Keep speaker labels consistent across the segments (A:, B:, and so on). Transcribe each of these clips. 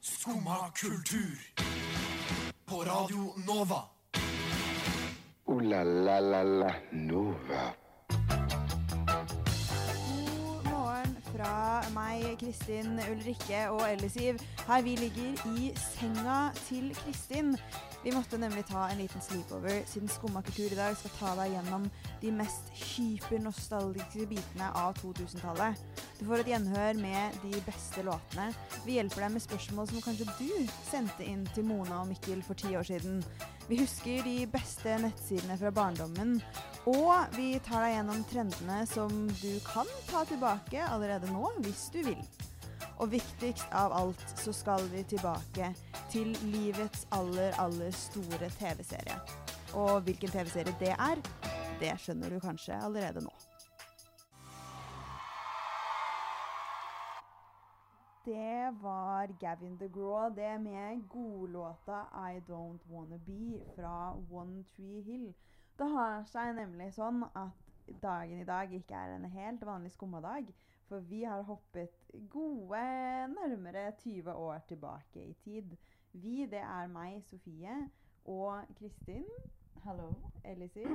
A: Skumma kultur. På Radio Nova.
B: Ooh la la la la Nova.
C: God morgen fra meg, Kristin Ulrikke og Ellisiv. Her vi ligger i senga til Kristin. Vi måtte nemlig ta en liten sleepover, siden Skumma kultur i dag skal ta deg gjennom de mest hypernostalgiske bitene av 2000-tallet. Du får et gjenhør med de beste låtene. Vi hjelper deg med spørsmål som kanskje du sendte inn til Mona og Mikkel for ti år siden. Vi husker de beste nettsidene fra barndommen. Og vi tar deg gjennom trendene som du kan ta tilbake allerede nå, hvis du vil. Og viktigst av alt så skal vi tilbake til livets aller, aller store TV-serie. Og hvilken TV-serie det er, det skjønner du kanskje allerede nå. Det var Gavin DeGraw, det med godlåta I Don't Wanna Be fra One Tree Hill. Det har seg nemlig sånn at dagen i dag ikke er en helt vanlig skummadag, for vi har hoppet gode nærmere 20 år tilbake i tid. Vi, det er meg, Sofie, og Kristin,
D: Hallo.
C: Elisir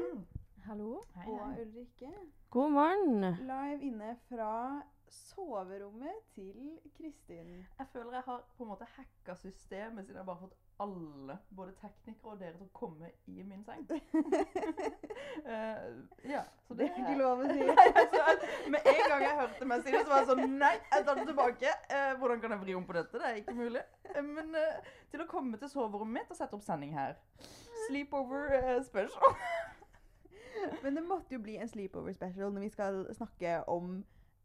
E: Hallo.
C: og Ulrikke.
E: God morgen.
C: Live inne fra soverommet til Kristin.
D: Jeg føler jeg har på en måte hacka systemet, siden jeg bare har fått alle, både teknikere og dere, til å komme i min seng. Eh, ja, så
C: Det
D: det
C: er ikke lov å si.
D: Nei, altså, Med en gang jeg hørte meg si det, så var jeg sånn Nei, jeg tar det tilbake. Eh, hvordan kan jeg vri om på dette? Det er ikke mulig. Eh, men eh, til å komme til soverommet mitt og sette opp sending her. Sleepover eh, special.
C: Men det måtte jo bli en sleepover special når vi skal snakke om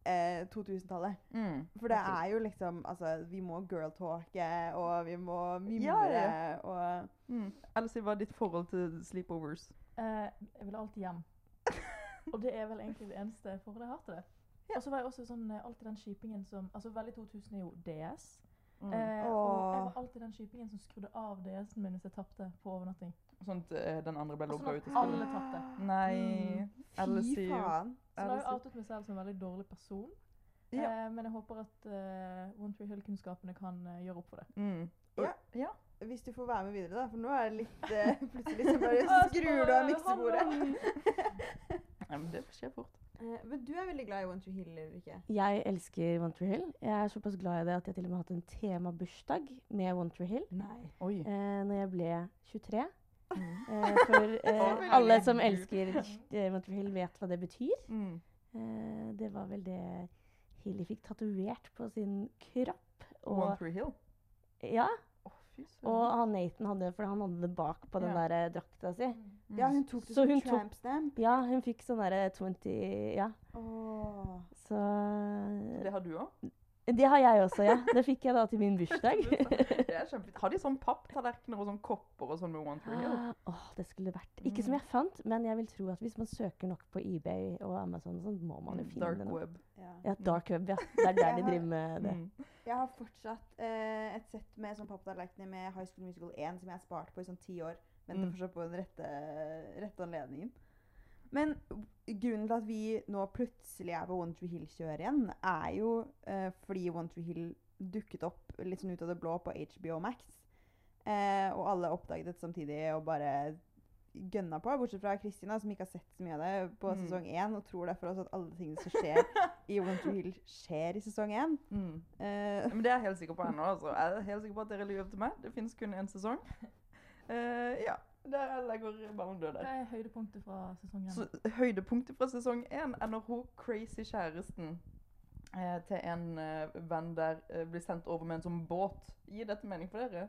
C: eh, 2000-tallet.
D: Mm.
C: For det er jo liksom Altså, vi må girltalke, og vi må mimre,
D: Ja, ja,
C: og
D: mm. Ellers, hva er ditt forhold til sleepovers?
E: Eh, jeg ville alltid hjem. Og det er vel egentlig det eneste forholdet jeg har til det. Og så var jeg også sånn, eh, alltid den skipingen som Altså, veldig 2000 er jo DS.
D: Mm.
E: Eh, og jeg
C: Mm. Åh.
E: var alltid den skipingen som skrudde av DS-en min hvis jeg tapte på overnatting.
D: Sånn at eh, den andre ble
E: Og
D: logga
E: Sånn
D: ut
E: at
D: av spillet?
E: alle tapte.
D: Nei.
C: Fy faen.
E: Så da har jeg
D: LSU.
E: outet meg selv som en veldig dårlig person.
D: Ja.
E: Eh, men jeg håper at eh, One Tree Hill-kunnskapene kan eh, gjøre opp for det.
D: Mm.
C: Ja.
D: ja.
C: Hvis du får være med videre, da, for nå er det litt eh, Plutselig så bare
E: Ah,
C: skrur du av
E: spør-
C: miksebordet.
E: Hallo.
D: Ja, men det skjer fort.
C: Eh, men du er veldig glad i One Tree Hill, Ulrikke.
F: Jeg elsker One Tree Hill. Jeg er såpass glad i det at jeg til og med har hatt en temabursdag med One Tree Hill.
D: Nei. Oi.
F: Eh, når jeg ble 23.
D: Mm.
F: Eh, for eh,
D: Herregud.
F: alle som elsker eh, One Tree Hill, vet hva det betyr.
D: Mm.
F: Eh, det var vel det Hilly fikk tatovert på sin kropp.
D: One
F: Og,
D: Tree Hill.
F: ja,
D: Å, fy
F: og
D: søren.
F: han Nathan hadde for han hadde det bak på den
D: Mm. Ja.
F: der eh, drakta si.
D: Mm.
C: Ja, hun tok det
F: Så
C: som
F: hun tok-
C: tramp stamp.
F: Ja, hun fikk sånn derre 20 Ja,
C: Åh.
F: så eh,
D: Det har du òg?
F: Det har jeg også, ja. Det fikk jeg da til min bursdag.
D: Det er kjempefint. Har de sånn papptallerkener og sånn kopper og sånn med One Tree Hill?
F: Åh, det skulle vært Ikke som jeg fant, men jeg vil tro at hvis man søker nok på eBay og Amazon, og sånt, må man jo finne
D: Mm, Dark
F: det. nå.
D: web.
C: Ja.
F: Ja, dark web, ja. Det er der de
C: Jeg har-
F: driver med det.
D: Mm.
C: Jeg har fortsatt eh, et sett med sånn papptallerkener med High School Musical 1 som jeg har spart på i sånn ti år. Venter
D: Mm.
C: fortsatt på den rette, rette anledningen. Men grunnen til at vi nå plutselig er på One Tree Hill-kjøret igjen, er jo eh, fordi One Tree Hill dukket opp litt sånn ut av det blå på HBO Max. Eh, og alle oppdaget det samtidig og bare gønna på. Bortsett fra Kristina, som ikke har sett så mye av det på
D: Mm.
C: sesong én, og tror derfor også at alle tingene som skjer i One Tree Hill, skjer i sesong én.
D: Mm.
C: Eh,
D: Ja, Men det er jeg helt sikker på ennå. Altså. Jeg er helt sikker på at dere lyver til meg. Det fins kun én sesong. Eh, ja. Der jeg legger ballen død der.
E: Hva er høydepunktet fra sesongen?
D: Så høydepunktet fra sesong én er når hun crazy kjæresten eh, til en eh, venn der eh, blir sendt over med en sånn båt. Gir dette mening for dere?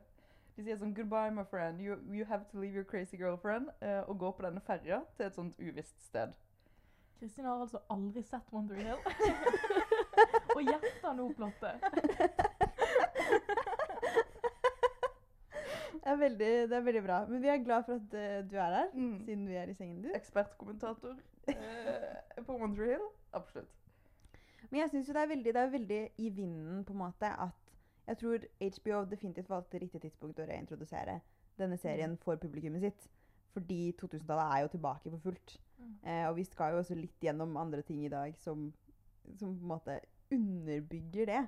D: De sier sånn 'Goodbye, my friend. You, you have to leave your crazy girlfriend' eh, og går på denne ferja til et sånt uvisst sted.
E: Kristin har altså aldri sett One Tree Hill. og gjetter nå plottet.
C: Det er, veldig, det er veldig bra. Men vi er glad for at eh, du er her,
D: Mm.
C: siden vi er i sengen din.
D: Ekspertkommentator eh, på One Tree Hill. Absolutt.
C: Men jeg syns jo det er veldig, det er veldig i vinden, på en måte, at jeg tror HBO definitivt valgte riktig tidspunkt å reintrodusere denne
E: Mm.
C: serien for publikummet sitt. Fordi 2000-tallet er jo tilbake for fullt.
E: Mm.
C: Eh, og vi skal jo også litt gjennom andre ting i dag som, som på en måte underbygger det.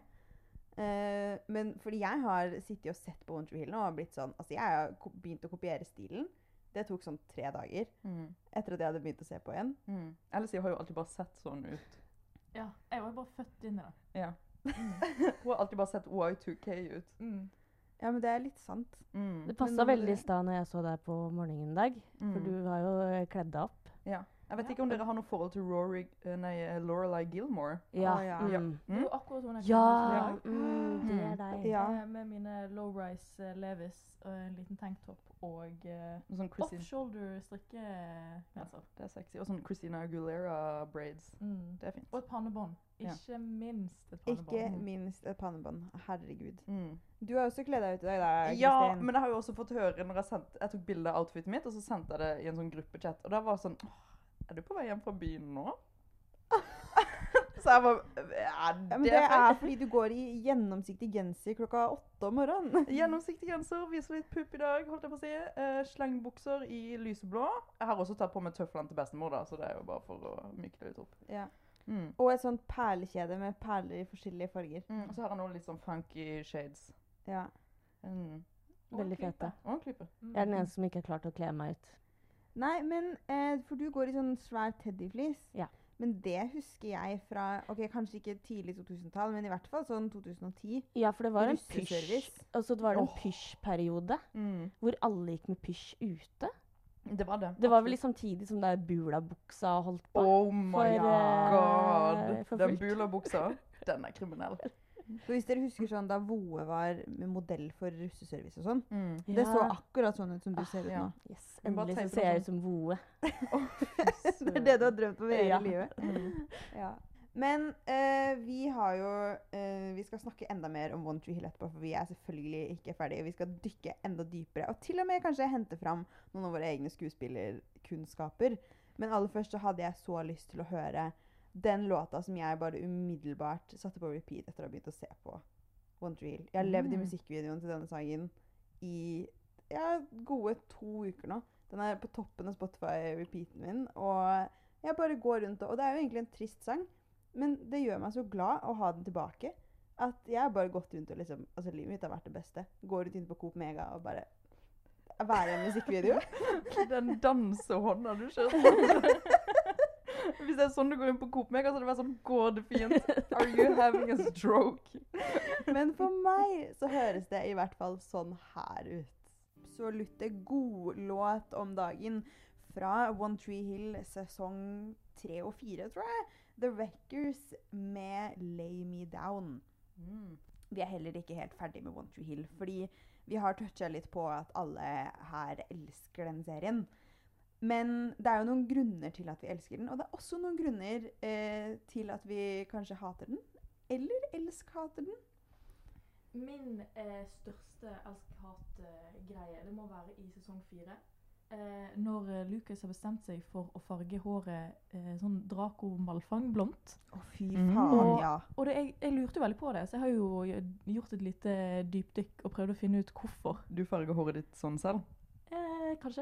C: Eh, men fordi jeg har sittet og sett på One Tree Hill nå og blitt sånn Altså, jeg har ko- begynt å kopiere stilen. Det tok sånn tre dager
D: Mm.
C: etter at jeg hadde begynt å se på igjen.
D: Mm. Ellers jeg har jo alltid bare sett sånn ut.
E: Ja, jeg var jo bare født inn i det.
D: Ja. Hun har alltid bare sett Y2K ut.
C: Mm. Ja, men det er litt sant.
D: Mm.
F: Det passa
C: nå må
F: veldig i
C: dere-
F: stad når jeg så deg på morgenen en dag,
D: Mm.
F: for du har jo eh, kledd deg opp.
D: Ja. Jeg vet ikke om dere har noe forhold til Rory, eh, nei, eh, Lorelai Gilmore.
F: Ja.
C: Å, ja.
F: Mm.
E: Det er jo akkurat hun jeg
F: ja.
E: kjenner som
F: Mm, det er deg.
E: jeg
C: Ja.
E: er. Eh, Med mine low-rise eh, levis og en liten tanktopp og eh,
D: Noe Sånn Christine,
E: off-shoulder
C: eh, altså.
E: strikkegenser.
D: det er sexy. Og sånn Christina Aguilera-braids.
E: Mm.
D: Det er fint.
E: Og et pannebånd.
D: Ja.
E: Ikke minst et
C: Ikke
E: pannebånd. Mm.
C: minst et pannebånd. Herregud.
D: Mm.
C: Du har også kledd deg ut i dag, da, Kristin.
D: Ja, men jeg har jo også fått høre når jeg, sendt, jeg tok bilde av outfitet mitt, og så sendte jeg det i en sånn gruppechat. Og da var det sånn «Åh, Er du på vei hjem fra byen nå? så jeg var Ja,
C: ja, men
D: det
C: det
D: er
C: er fordi du går i gjennomsiktig genser klokka åtte om morgenen.
D: Gjennomsiktige genser, viser litt pupp i dag, holdt jeg på å si. Eh, slengbukser i lyseblå. Jeg har også tatt på meg tøflene til bestemor, da, så det er jo bare for å myke det litt opp.
C: Ja.
D: Mm.
C: Og et sånt perlekjede med perler i forskjellige farger.
D: Mm. Og så har jeg noen litt sånn funky shades.
C: Ja.
D: Mm.
E: Og en
F: Veldig
E: klype.
F: fete.
D: Og en klype.
E: Mm.
F: Jeg er den eneste som ikke har klart å kle meg ut.
C: Nei, men eh, For du går i sånn svær teddyflis.
F: Ja.
C: Men det husker jeg fra ok, kanskje ikke tidlig 2000-tall, men i hvert fall sånn 2010.
F: Ja, for det var en pysj.
C: Russeservice.
F: Altså, det var en
D: Åh.
F: pysjperiode
D: Mm.
F: hvor alle gikk med pysj ute.
D: Det var det.
F: Det var vel litt samtidig som det er bulabuksa holdt på.
D: Oh my
F: For, eh,
D: god!
F: for
D: Den
F: fullt.
D: bulabuksa, den er kriminell.
C: Så hvis dere husker sånn da Voe var med modell for russeservice og sånn
D: Mm.
C: Det
F: Ja.
C: så akkurat sånn ut som du ser ut
D: ja.
C: nå.
F: Yes,
D: Hun bare
F: endelig så
D: teiper
F: ser jeg
D: noe
F: ut som Voe.
C: det er det du har drømt om i hele
F: Ja.
C: livet.
D: Mm.
C: Ja. Men eh, vi har jo eh, Vi skal snakke enda mer om One Tree Hill etterpå, for vi er selvfølgelig ikke ferdige. Vi skal dykke enda dypere, og til og med kanskje hente fram noen av våre egne skuespillerkunnskaper. Men aller først så hadde jeg så lyst til å høre den låta som jeg bare umiddelbart satte på repeat etter å ha begynt å se på One Tree Hill. Jeg har levd i
D: Mm.
C: musikkvideoen til denne sangen i ja, gode to uker nå. Den er på toppen av Spotify-repeaten min. Og jeg bare går rundt og Og det er jo egentlig en trist sang, men det gjør meg så glad å ha den tilbake. At jeg har bare gått rundt og liksom Altså, livet mitt har vært det beste. Går rundt inn på Coop Mega og bare Være i en musikkvideo.
D: Den dansehånda du kjørte. Hvis det er sånn du går inn på Coop Mega, så hadde det vært sånn Går det fint? Are you having a stroke?
C: Men for meg så høres det i hvert fall sånn her ut. Absolutt god låt om dagen fra One Tree Hill sesong tre og fire, tror jeg. The Wreckers med Lay Me Down.
D: Mm.
C: vi er heller ikke helt ferdig med One Tree Hill. Fordi vi har toucha litt på at alle her elsker den serien. Men det er jo noen grunner til at vi elsker den. Og det er også noen grunner eh, til at vi kanskje hater den. Eller elsk-hater den.
E: Min eh, største elsk-hat-greie det må være i sesong fire. Eh, når eh, Lucas har bestemt seg for å farge håret eh, sånn Draco Malfang blondt.
C: Å, fy
D: Mm.
C: faen,
E: Og-
C: ja.
E: Og det, jeg, jeg lurte jo veldig på det, så jeg har jo gjort et lite dypdykk og prøvd å finne ut hvorfor.
D: Du farger håret ditt sånn selv?
E: Eh, kanskje.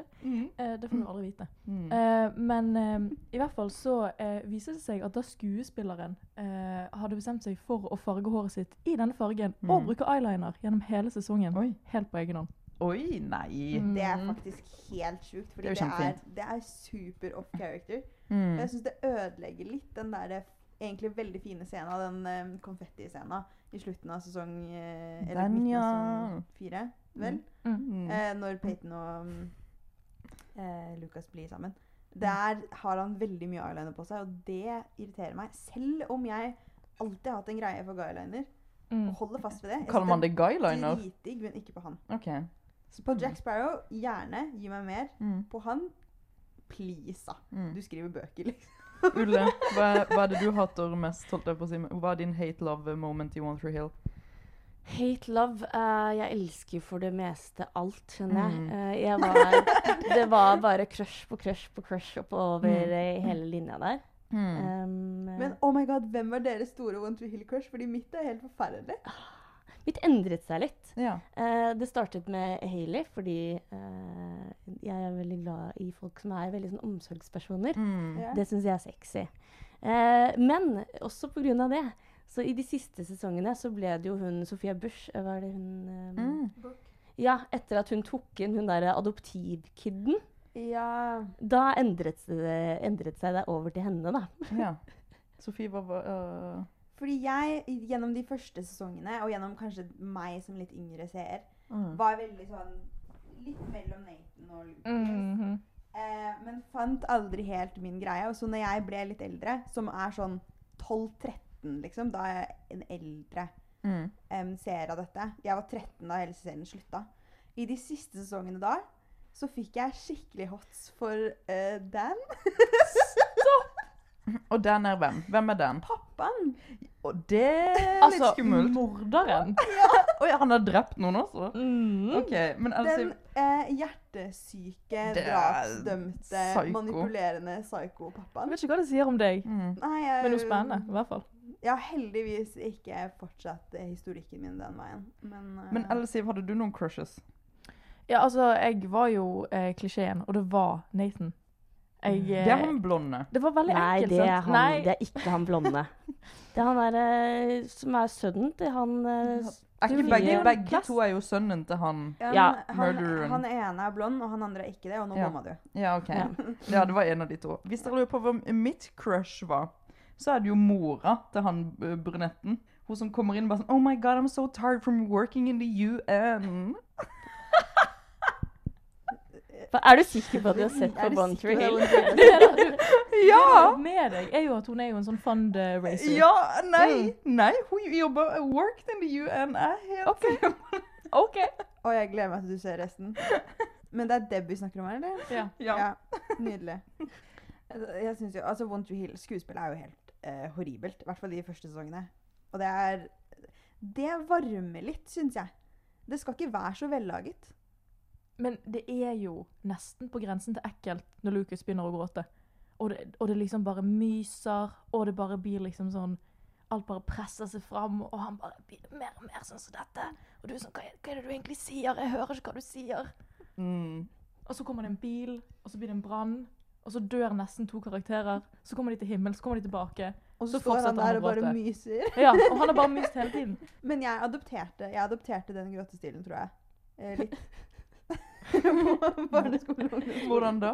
E: Eh, det får vi aldri vite.
D: Mm.
E: Eh, men eh, i hvert fall så eh, viser det seg at da skuespilleren eh, hadde bestemt seg for å farge håret sitt i denne fargen,
D: Mm.
E: og bruke eyeliner gjennom hele sesongen,
D: Oi.
E: helt på egen hånd.
D: Oi, nei.
E: Mm.
C: Det er faktisk helt sjukt. Fordi det
D: Det er jo
C: er,
D: kjempefint.
C: det er super off character. Og
D: Mm.
C: jeg syns det ødelegger litt den der eh, egentlig veldig fine scenen, den eh, konfettiscenen i slutten av sesong eh, Eller
D: Den,
C: midten av
D: ja.
C: sesong fire, vel?
D: Mm.
C: eh, når Peyton og mm, eh, Lucas blir sammen. Der
D: Mm.
C: har han veldig mye eyeliner på seg, og det irriterer meg. Selv om jeg alltid har hatt en greie for guyliner. Og holder fast ved det. Jeg
D: Mm. Kaller man det
C: synes det er
D: guyliner?
C: Dritdigg, men ikke på han.
D: OK.
C: På Jack Sparrow, gjerne. Gi meg mer.
D: Mm.
C: På han, please, da.
D: Mm.
C: Du skriver bøker, liksom.
D: Ulle, hva, hva er det du hater mest? holdt jeg på å si? Hva er din hate-love moment i One Through Hill?
F: Hate love. eh, jeg elsker for det meste alt, skjønner jeg.
D: Mm.
F: Eh, jeg var, det var bare crush på crush på crush oppover eh, hele linja der. Um, eh,
C: Men oh my god, hvem var deres store One Tree Hill Crush? Fordi mitt er helt forferdelig.
F: mitt endret seg litt.
D: Ja.
F: Eh, det startet med Hailey, fordi eh, jeg er veldig glad i folk som er veldig sånn omsorgspersoner.
D: Mm.
C: Ja.
F: Det syns jeg er sexy. Eh, men også pga. det Så i de siste sesongene så ble det jo hun Sofia Bush eh, Hva er det hun eh,
D: Mm.
E: Brooke.
F: Ja, etter at hun tok inn hun derre adoptivkidden.
C: Ja.
F: Da endret det, endret seg det over til henne, da.
D: Ja. Sofie var øh,
C: Fordi jeg, gjennom de første sesongene, og gjennom kanskje meg som litt yngre seer,
D: mm.
C: var veldig sånn Litt mellom Nathan og Lucas. Eh, men fant aldri helt min greie. Og så når jeg ble litt eldre, som er sånn 12-13, liksom, da er jeg en eldre
D: Mm.
C: em, seer av dette Jeg var 13 da hele serien slutta. I de siste sesongene da så fikk jeg skikkelig hots for eh, Dan.
D: Og den er hvem? Hvem er den?
C: Pappaen.
D: Og det er litt
G: Altså,
D: skummelt.
G: morderen.
D: Oi, han har drept noen også? OK, men
C: Den
D: altså
C: eh, hjertesyke,
D: Det er
C: drapsdømte,
D: psyko.
C: manipulerende psyko-pappaen.
G: Jeg vet ikke hva det sier om deg,
D: mm.
C: Nei, jeg,
G: men noe spennende. i hvert fall.
C: Jeg har heldigvis ikke fortsatt eh, historikken min den veien. Men, eh,
D: Men Elle Siv, hadde du noen crushes?
G: Ja, altså, jeg var jo eh, klisjeen, og det var Nathan. Jeg, eh,
D: Mm. Det er han blonde.
G: det var veldig
F: Nei,
G: enkelt,
F: det er,
G: sant?
F: han,
G: Nei,
F: det er ikke han blonde. Det er han derre som er sønnen til han eh, s-
D: Er
F: Du
D: ikke begge,
F: gjør en
D: begge
F: plass.
D: to er jo sønnen til han
C: ja, men
F: ja,
C: han,
D: murdereren.
C: han ene er blond, og han andre er ikke det, og nå
D: Ja.
C: bomma du.
D: Ja, OK.
F: Ja.
D: Ja, det var en av de to. Hvis dere lurer på hva mitt crush var, så er det jo mora til han eh, brunetten. Hun som kommer inn og bare sånn Oh my God, I'm so tired from working in the UN.
F: Hva- Er du sikker på at du har sett
C: Er
F: på
C: du
F: Bond
C: sikker på
F: Tree?
C: det?
D: Ja!
G: med deg er jo at hun er jo en sånn
E: eh,
G: fundraiser.
D: Ja, nei, nei, hun jobber Worked in the UN. Jeg er helt sikker på det.
G: OK.
C: Og jeg gleder meg til du ser resten. Men det er Debbie vi snakker om her, eller?
G: Ja.
D: Ja.
C: Nydelig. Altså, Jeg synes jo, altså One Tree Hill, skuespillet er jo helt eh, horribelt. I hvert fall de første sesongene. Og det er Det varmer litt, syns jeg. Det skal ikke være så vellaget.
G: Men det er jo nesten på grensen til ekkelt når Lucas begynner å gråte. Og det, og det liksom bare myser, og det bare blir liksom sånn Alt bare presser seg fram, og han bare blir mer og mer sånn som dette. Og du er sånn hva, er- hva er det du egentlig sier? Jeg hører ikke hva du sier.
D: Mm.
G: Og så kommer det en bil, og så blir det en brann. Og så dør nesten to karakterer. Så kommer de til himmelen, så kommer de tilbake.
C: Og så,
G: Så
C: står
G: fortsetter
C: han der
G: han å
C: og bare
G: gråte.
C: myser.
G: Ja, Og han har bare myst hele tiden.
C: Men jeg adopterte, jeg adopterte den gråtestilen, tror jeg. Eh, litt. På barneskole og ungdomsskole.
D: Hvordan da?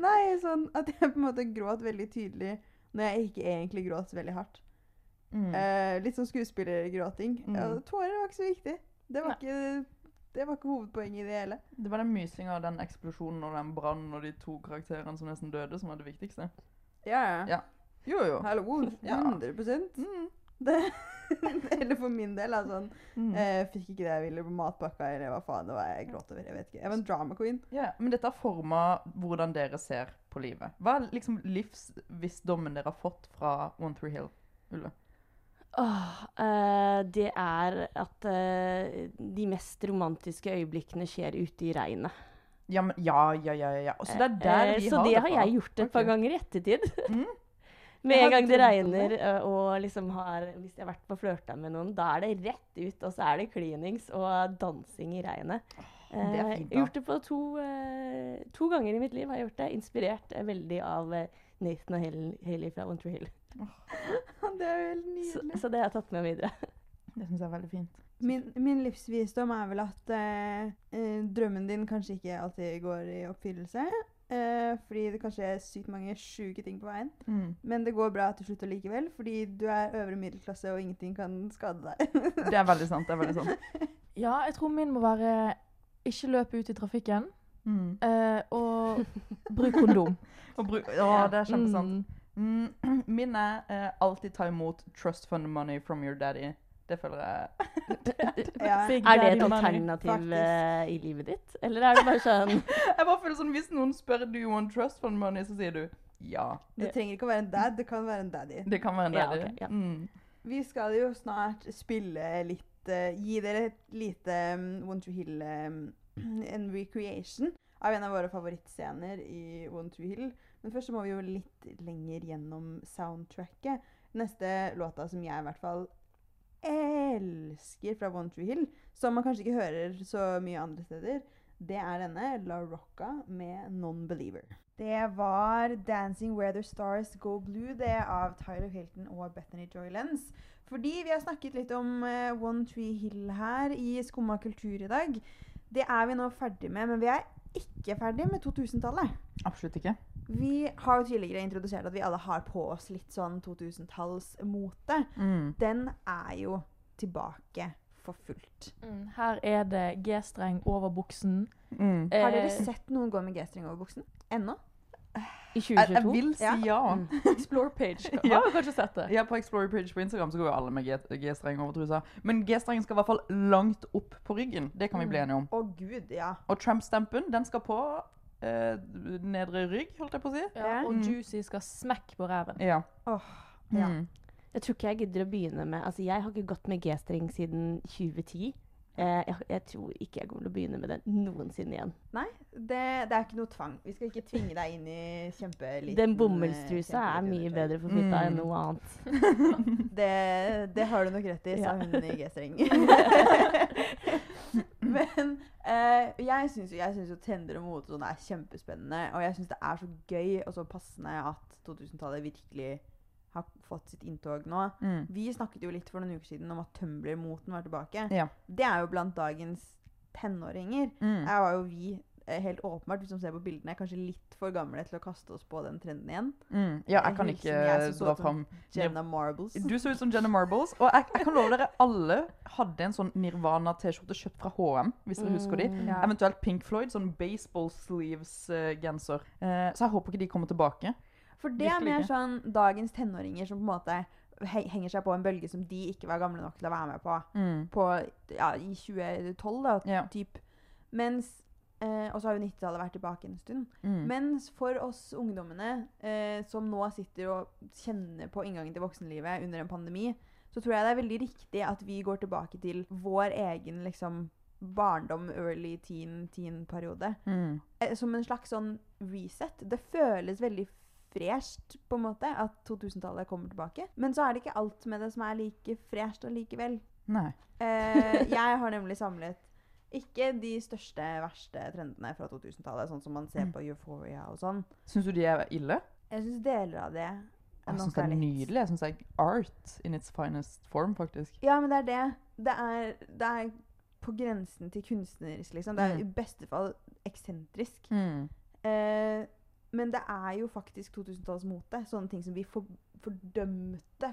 C: Nei, sånn at jeg på en måte gråt veldig tydelig når jeg ikke egentlig gråt så veldig hardt.
D: Mm.
C: Eh, litt sånn skuespillergråting.
D: Mm.
C: Ja, tårer var ikke så viktig. Det var ikke, det var ikke hovedpoenget i det hele.
D: Det var den mysinga, den eksplosjonen og den brannen og de to karakterene som nesten døde, som var det viktigste.
C: Ja,
D: Ja. Jo, jo.
C: Hallo,
D: Ja.
C: 100
D: Mm.
C: det, Eller for min del, altså. Sånn,
D: Mm.
C: eh, fikk ikke det jeg ville på matpakka, eller hva faen det var jeg gråt over. Jeg vet ikke. Jeg var en drama queen.
D: Ja, men dette har forma hvordan dere ser på livet. Hva er liksom livsvisdommen dere har fått fra One Through Hill? Ulle?
F: Åh, eh, det er at eh, de mest romantiske øyeblikkene skjer ute i regnet.
D: Ja, men, ja, ja, ja. ja, ja. Og Så det er der
F: Eh,
D: vi
F: så
D: har
F: det
D: det
F: har
D: fra.
F: jeg gjort et par
D: Ok.
F: ganger i ettertid.
D: Mm.
F: Med
C: Jeg
F: en
C: har
F: gang det
C: drømt om det.
F: regner eh, og liksom har Hvis jeg har vært på flørta med noen, da er det rett ut, og så er det klinings og dansing i regnet.
D: det er
F: Eh,
D: fint, da.
F: gjort det på to, eh, to ganger i mitt liv. har jeg gjort det. Inspirert eh, veldig av eh, Nathan og Hel- Haley fra One Tree Hill.
C: Det er jo helt
F: Så, så det har jeg tatt med videre.
D: Det syns jeg er veldig fint.
C: Min, min livsvisdom er vel at eh, eh, drømmen din kanskje ikke alltid går i oppfyllelse. eh, fordi det kanskje er sykt mange sjuke ting på veien.
D: Mm.
C: Men det går bra til slutt allikevel, fordi du er øvre middelklasse, og ingenting kan skade deg.
D: Det er veldig sant. det er veldig sant.
G: Ja, jeg tror min må være ikke løpe ut i trafikken,
D: Mm.
G: eh, og Mm. bruk kondom.
D: Og bru- Å, det er kjempesant. Mm. Min er eh, alltid ta imot trust fund money from your daddy. Det føler jeg
C: Ja.
G: Big
F: Er det
G: daddy
F: et
G: money.
F: alternativ
C: Faktisk.
F: eh, i livet ditt? Eller er det bare sånn
D: Jeg bare føler sånn, Hvis noen spør do you want trust fund money, så sier du ja.
C: Det trenger ikke å være en dad, det kan være en daddy.
D: Det kan være en
F: Ja,
D: daddy.
F: ok, ja.
D: Mm.
C: Vi skal jo snart spille litt eh, Gi dere et lite um, One True Hill um, En recreation av en av våre favorittscener i One True Hill. Men først så må vi jo litt lenger gjennom soundtracket. Neste låta som jeg i hvert fall elsker fra One True Hill, som man kanskje ikke hører så mye andre steder, Det er denne, La Rocca med Non-Believer. Det var 'Dancing Where the Stars Go Blue' det av Tyler Hilton og Bethany Joylens. Fordi vi har snakket litt om eh, One Tree Hill her i Skumma kultur i dag. Det er vi nå ferdig med, men vi er ikke ferdig med 2000-tallet.
D: Absolutt ikke.
C: Vi har jo tidligere introdusert at vi alle har på oss litt sånn 2000-tallsmote. Den er jo tilbake for fullt.
G: Her er det G-streng over buksen.
D: Mm.
C: Har
G: Eh,
C: dere sett noen gå med G-streng over buksen? Ennå?
F: I
D: Jeg, jeg
F: 2022?
D: vil si ja. ja.
G: Explore page? Har
D: Ja.
G: ja. kanskje sett det?
D: På Explorer Page på Instagram så går jo alle med G- G-streng over trusa. Men G-strengen skal i hvert fall langt opp på ryggen. Det kan vi bli enige om.
C: Å gud, ja.
D: Og Tramp-stampen, den skal på eh, nedre rygg, holdt jeg på å si.
G: Ja, og
D: Mm.
G: Juicy skal smekk på ræven.
D: Ja.
C: Åh, ja.
D: Mm.
F: Jeg tror ikke jeg gidder å begynne med Altså, jeg har ikke gått med G-streng siden 2010. Eh, jeg, jeg tror ikke jeg kommer til å begynne med det noensinne igjen.
C: Nei, det, det er ikke noe tvang. Vi skal ikke tvinge deg inn i kjempeliten
F: Den bomullstrusa
C: eh,
F: er mye
C: kjempeliten
F: bedre for fitta
D: Mm.
F: enn noe annet.
C: Det, det har du nok rett i, sa
F: Ja.
C: hun i G-streng. Men eh, jeg syns jo, jeg synes jo trender og mote og sånn er kjempespennende. Og jeg syns det er så gøy og så passende at 2000-tallet virkelig har fått sitt inntog nå.
D: Mm.
C: Vi snakket jo litt for noen uker siden om at Tumblr-moten var tilbake.
D: Ja.
C: Det er jo blant dagens tenåringer.
D: Mm.
C: Her var jo vi eh, helt åpenbart, hvis man ser på bildene, kanskje litt for gamle til å kaste oss på den trenden igjen.
D: Mm. ja, jeg kan
C: Jeg
D: ikke
C: husker jeg så
D: dra
C: ut som-
D: fram
C: Jenna Marbles.
D: Du så ut som Jenna Marbles. Og jeg, jeg kan love dere alle hadde en sånn Nirvana-T-skjorte kjøpt fra HM. hvis dere husker de.
F: Mm.
D: Eventuelt Pink Floyd, sånn baseball sleeves-genser. så jeg håper ikke de kommer tilbake.
C: For det er
D: Virkelig
C: mer
D: ikke.
C: sånn dagens tenåringer som på en måte he- henger seg på en bølge som de ikke var gamle nok til å være med på, på ja, i 2012, da,
D: Ja.
C: typ. Mens, eh, og så har jo 90-tallet vært tilbake en stund.
D: Mm.
C: Mens for oss ungdommene eh, som nå sitter og kjenner på inngangen til voksenlivet under en pandemi, så tror jeg det er veldig riktig at vi går tilbake til vår egen liksom, barndom, early teen, teen-periode
D: Mm.
C: eh, som en slags sånn reset. Det føles veldig fresht, på en måte, at 2000-tallet kommer tilbake. Men så er det ikke alt med det som er like fresht allikevel.
D: Nei.
C: Eh, jeg har nemlig samlet ikke de største, verste trendene fra 2000-tallet, sånn som man ser
D: Mm.
C: på Euphoria og sånn.
D: Syns du de er ille?
C: Jeg syns deler av det
D: Jeg
C: nok
D: syns det er
C: altså, litt-
D: nydelig. Jeg syns det er art in its finest form, faktisk.
C: Ja, men det er det. Det er, det er på grensen til kunstnerisk, liksom.
D: Mm.
C: Det er i beste fall eksentrisk. Eh, men det er jo faktisk 2000-tallsmote. Sånne ting som vi for, fordømte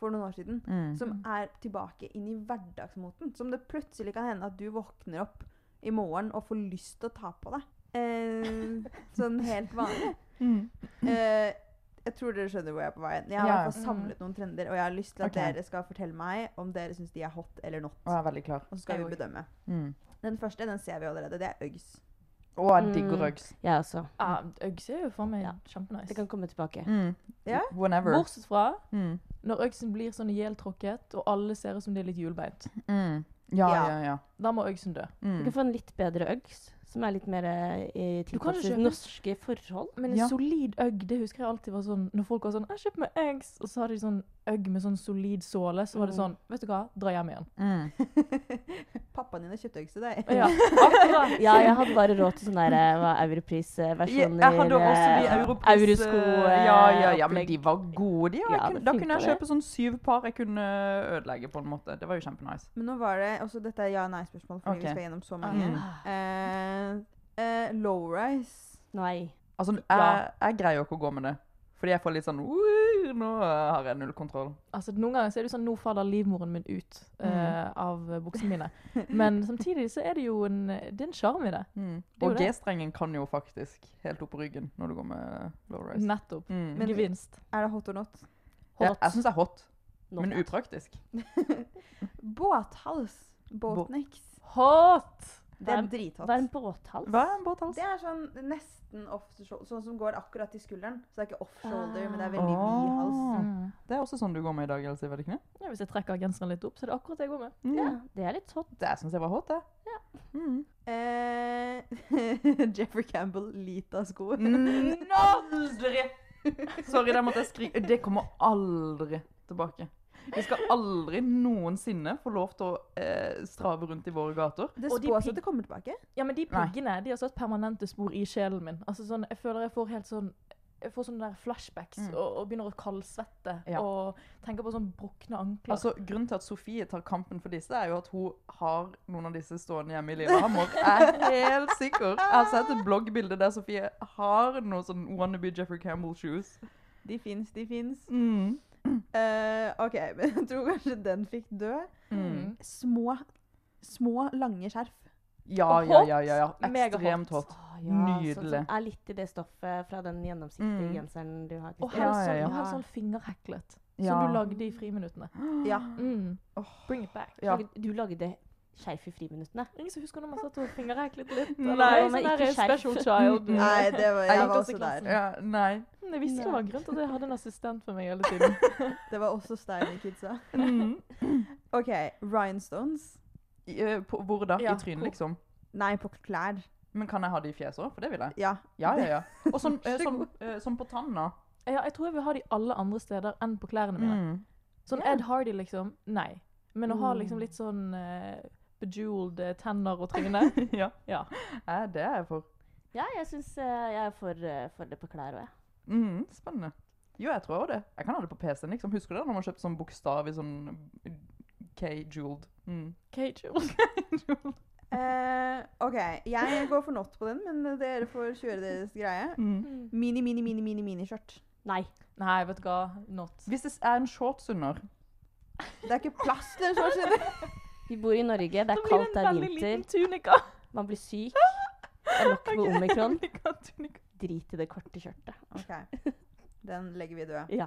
C: for noen år siden.
D: Mm.
C: Som er tilbake inn i hverdagsmoten. Som det plutselig kan hende at du våkner opp i morgen og får lyst til å ta på deg. Eh, sånn helt vanlig.
D: Mm.
C: Eh, jeg tror dere skjønner hvor jeg er på vei. Jeg har i
D: Ja. Mhm.
C: hvert fall samlet noen trender, og jeg har lyst til at
D: Ok.
C: dere skal fortelle meg om dere syns de er hot eller not.
D: Og jeg er veldig klar.
C: Og så skal
G: Jeg
C: vi
G: òg.
C: bedømme.
D: Mm.
C: Den første den ser vi allerede. Det er Uggs.
D: Og jeg digger
F: Mm.
D: Uggs.
F: Jeg også.
G: Ja, Uggs er jo for meg
F: Ja.
G: kjempenice.
F: Det kan komme tilbake.
D: Mm.
C: Ja.
D: Whenever.
G: Bortsett fra
D: Mm.
G: når Uggsen blir sånn ihjeltråkket, og alle ser ut som de er litt hjulbeint.
D: Mm. Ja,
C: Ja.
D: ja, ja.
G: Da må Uggsen dø.
F: Du
D: Mm.
F: kan få en litt bedre Uggs, som er litt mer eh, tilpasset
G: kjøpe-
F: norske forhold.
G: Men en
D: Ja.
G: solid øgg, det husker jeg alltid var sånn Når folk var sånn 'Jeg kjøper meg eggs', og så hadde de sånn øgg med sånn solid såle, så var det sånn 'Vet du hva, dra hjem igjen'.
D: Mm.
C: Pappaen din har kjøpt Uggs til deg.
G: Ja, akkurat.
F: Ja, jeg hadde bare råd til sånn der eh, hva, europris-versjoner.
D: Jeg hadde også de europris...
F: Eurosko. eh,
D: ja, ja, ja, men
F: opplegg.
D: de var gode, de. og jeg
F: Ja,
D: kunne,
F: det
D: da kunne jeg
F: funka, det.
D: kjøpe sånn syv par jeg kunne ødelegge, på en måte. Det var jo kjempenice.
C: Men nå var det også Dette er ja-nei-spørsmål, fordi
D: Ok.
C: vi skal gjennom så mange.
D: Mm.
C: Eh, eh, Low-rise.
F: Nei.
D: Altså, jeg, jeg greier jo ikke å gå med det. Fordi jeg får litt sånn «Wuh, Nå eh, har jeg null kontroll.
G: Altså, noen ganger så er det jo sånn 'Nå faller livmoren min ut
D: Mm.
G: eh, av buksene mine'. Men samtidig så er det jo en Det er en sjarm i det. Det er jo
D: Mm. Og
G: det.
D: G-strengen kan jo faktisk helt opp på ryggen når du går med low rise.
G: Nettopp.
D: Mm.
C: Men-
G: Gevinst.
C: Er det hot or not?
D: Ja, jeg syns det er hot,
F: Not
D: men
F: bad.
D: upraktisk.
C: Båthals. Boatniks.
G: Hot!
C: Det er
F: Hva
C: drithot.
F: Hva er en båthals?
D: Hva er en båthals?
C: Det er sånn nesten off the shoulder, sånn som går akkurat til skulderen. Så det er ikke off shoulder,
F: Ah.
C: men det er veldig vid hals.
D: Ah, Det er også sånn du går med i dag, Elsie, var det ikke det?
G: Ja, hvis jeg trekker genseren litt opp, så er det akkurat det jeg går med.
D: Mm.
F: Det er litt hot.
D: Det syns jeg var hot, det. Mm.
C: Eh, Jeffrey Campbell, Lita-sko.
D: Mm, Aldri! Sorry, der måtte jeg skrike. Det kommer aldri tilbake. Vi skal aldri noensinne få lov til å eh, strave rundt i våre gater.
C: Det
G: Og de
C: spås
G: pig-
C: at det kommer tilbake.
G: Ja, men de
D: Nei.
G: piggene de har satt permanente spor i sjelen min. Altså sånn, Jeg føler jeg får helt sånn jeg får sånne der flashbacks
D: Mm.
G: og, og begynner å kaldsvette
D: Ja.
G: og tenker på sånn brukne ankler.
D: Altså, Grunnen til at Sofie tar kampen for disse, er jo at hun har noen av disse stående hjemme i Lillehammer. Jeg er helt sikker. Jeg har sett et bloggbilde der Sofie har noen sånn wannabe Jeffrey Campbell-shoes.
C: De fins, de fins.
D: Mm.
C: Eh, OK, men jeg tror kanskje den fikk dø.
D: Mm.
C: Små, små, lange skjerf.
D: Ja,
G: Og
D: ja,
G: hot.
D: ja, ja, ja.
G: Megahot.
D: Ekstremt hot.
F: Å, ja, Sånn
D: Nydelig.
F: som er litt i det stoffet fra den gjennomsiktige
D: Mm.
F: genseren du har.
G: og
F: Kristin.
D: Ja, ja,
G: helst sånn,
D: ja.
G: og helst sånn fingerheklet,
D: Ja.
G: som du lagde i friminuttene.
C: Ja.
G: Mm.
D: Åh.
G: Bring it back.
D: Ja.
F: Lagde- Du lagde skjerf i friminuttene.
G: Ingen som husker når man satt og fingerheklet litt?
D: Nei,
G: eller
F: men
G: sånn der
F: ikke skjerf.
G: special child.
C: Nei, det var, jeg
D: gikk
C: var
D: også
C: også der.
D: Ja, nei.
G: Mm, Jeg visste det var en grunn til at jeg hadde en assistent for meg hele tiden.
C: Det var også Steiner-kidsa.
D: Mm.
C: OK, rhinestones.
D: I, eh, på, hvor da?
G: Ja,
D: I trynet,
G: hvor?
D: liksom?
C: Nei, på klær.
D: Men kan jeg ha det i fjeset òg? For det vil jeg.
C: Ja.
D: Ja, ja, ja. Og sånn, eh, sånn, eh, sånn på tanna.
G: Ja, jeg tror jeg vil ha de alle andre steder enn på klærne
D: Mm.
G: mine.
C: Mm.
G: Sånn Ed Hardy, liksom. Nei. Men å ha liksom litt sånn eh, bejeweled eh, tenner og tryne
D: Ja.
G: Ja.
D: Eh, det er jeg for.
F: Ja, jeg syns jeg er for, eh, for det på klær òg, jeg.
D: Mm, spennende. Jo, jeg tror også det. Jeg kan ha det på PC-en. liksom. Husker du det når man kjøpte sånn bokstav i sånn K-jeweled? Mm.
G: K-jeweled.
C: Eh, OK, jeg går for not på den, men dere får kjøre deres greie. Mini, mini, mini, mini, miniskjørt.
F: Nei.
G: Nei, vet du hva. Not.
D: Hvis det er en shorts under
C: Det er ikke plass til en shorts. under.
F: Vi bor i Norge, det er kaldt, det er vinter,
G: tunika.
F: man blir syk. Det er nok med omikron. Drit i det korte skjørtet.
C: OK. Den legger vi død.
F: Ja.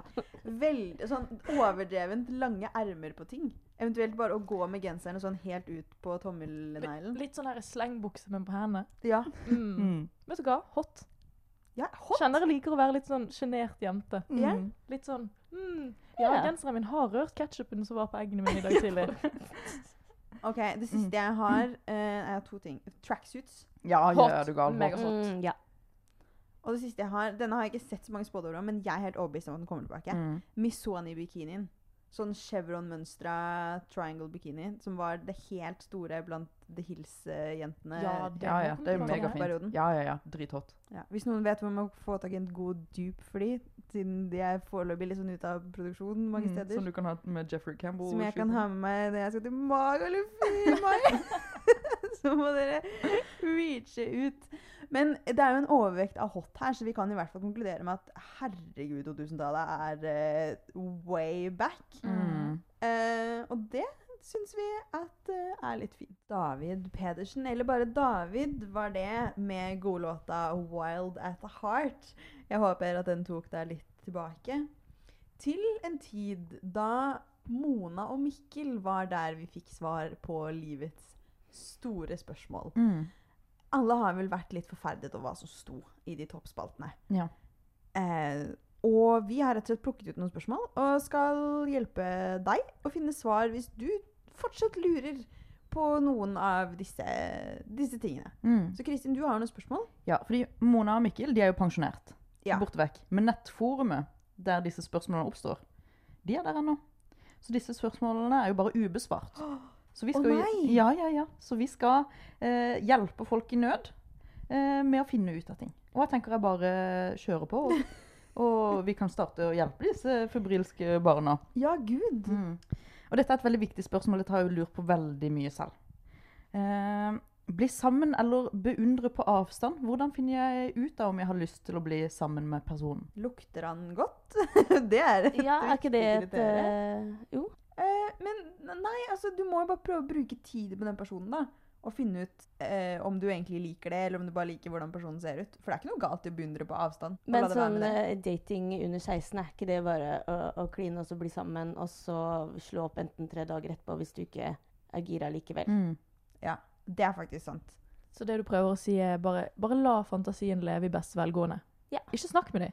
C: Veld, sånn overdrevent lange ermer på ting. Eventuelt bare å gå med genseren og sånn helt ut på tommelneglen.
G: Litt sånn her slengbukse, men på hendene.
C: Ja.
G: Mm.
D: Mm.
G: Vet du hva? Hot.
C: ja hot.
G: Kjenner jeg liker å være litt sånn sjenert jente.
C: Ja.
D: Mm.
G: Litt sånn mm, Ja,
F: Ja.
G: genseren min har rørt ketsjupen som var på eggene mine i dag tidlig.
C: OK, det siste jeg har, eh, jeg har to ting. Tracksuits.
D: Ja, ja,
G: Hot.
D: ja, du gal.
G: Mega
D: Hot.
G: hot.
F: Mm, ja.
C: Og det siste jeg har, Denne har jeg ikke sett så mange spådommer om, men jeg er helt overbevist om at den kommer tilbake.
D: Mm.
C: Missoni-bikinien. Sånn chevron-mønstra triangle-bikini som var det helt store blant The Hills-jentene.
D: Ja, ja, det er
G: kommer
C: mega
G: tilbake.
C: fint. perioden.
D: megafint. Ja, ja, ja. Drithot.
C: Ja. Hvis noen vet hvor man får tak i en god dupe for de, siden de er foreløpig litt sånn ute av produksjon mange
D: Mm,
C: steder.
D: Som du kan ha med Jeffrey Campbell.
C: Som jeg kan ha
D: med.
C: med meg når jeg skal til Magaluf i mai. så må dere reache ut. Men det er jo en overvekt av hot her, så vi kan i hvert fall konkludere med at herregud, 2000-tallet er eh, way back.
D: Mm.
C: Eh, og det syns vi at eh, er litt fint. David Pedersen, eller bare David, var det med godlåta 'Wild at the Heart'. Jeg håper at den tok deg litt tilbake. Til en tid da Mona og Mikkel var der vi fikk svar på livets store spørsmål.
D: Mm.
C: Alle har vel vært litt forferdet over hva som sto i de toppspaltene.
D: Ja.
C: Eh, og vi har rett og slett plukket ut noen spørsmål og skal hjelpe deg å finne svar hvis du fortsatt lurer på noen av disse, disse tingene.
D: Mm.
C: Så Kristin, du har noen spørsmål?
D: Ja, fordi Mona og Mikkel de er jo pensjonert.
C: Ja.
D: Borte vekk. Men nettforumet der disse spørsmålene oppstår, de er der ennå. Så disse spørsmålene er jo bare ubesvart. Så vi
C: Å,
D: skal, jo-
C: nei!
D: ja, ja, ja. Så vi skal eh, hjelpe folk i nød eh, med å finne ut av ting. Og jeg tenker jeg bare kjører på. Og, og vi kan starte å hjelpe disse febrilske barna.
C: Ja, gud.
D: Mm. Og dette er et veldig viktig spørsmål. Dette har jeg jo lurt på veldig mye selv. Eh, bli sammen eller beundre på avstand. Hvordan finner jeg ut av om jeg har lyst til å bli sammen med personen?
C: Lukter han godt? det er et
F: ja, er ikke det
C: viktig
F: et
C: kriterium.
F: eh, Jo.
C: Eh, Men nei, altså, du må jo bare prøve å bruke tid med den personen, da. Og finne ut eh, om du egentlig liker det, eller om du bare liker hvordan personen ser ut. For det er ikke noe galt i å beundre på avstand. og la
F: Men
C: det være
F: sånn
C: med det.
F: eh, dating under 16, er ikke det bare å, å kline og så bli sammen, og så slå opp enten tre dager etterpå hvis du ikke er gira
C: Mm.
F: likevel?
C: det er faktisk sant.
G: Så det du prøver å si er bare, bare la fantasien leve i beste velgående.
F: Ja.
G: Ikke snakk med dem.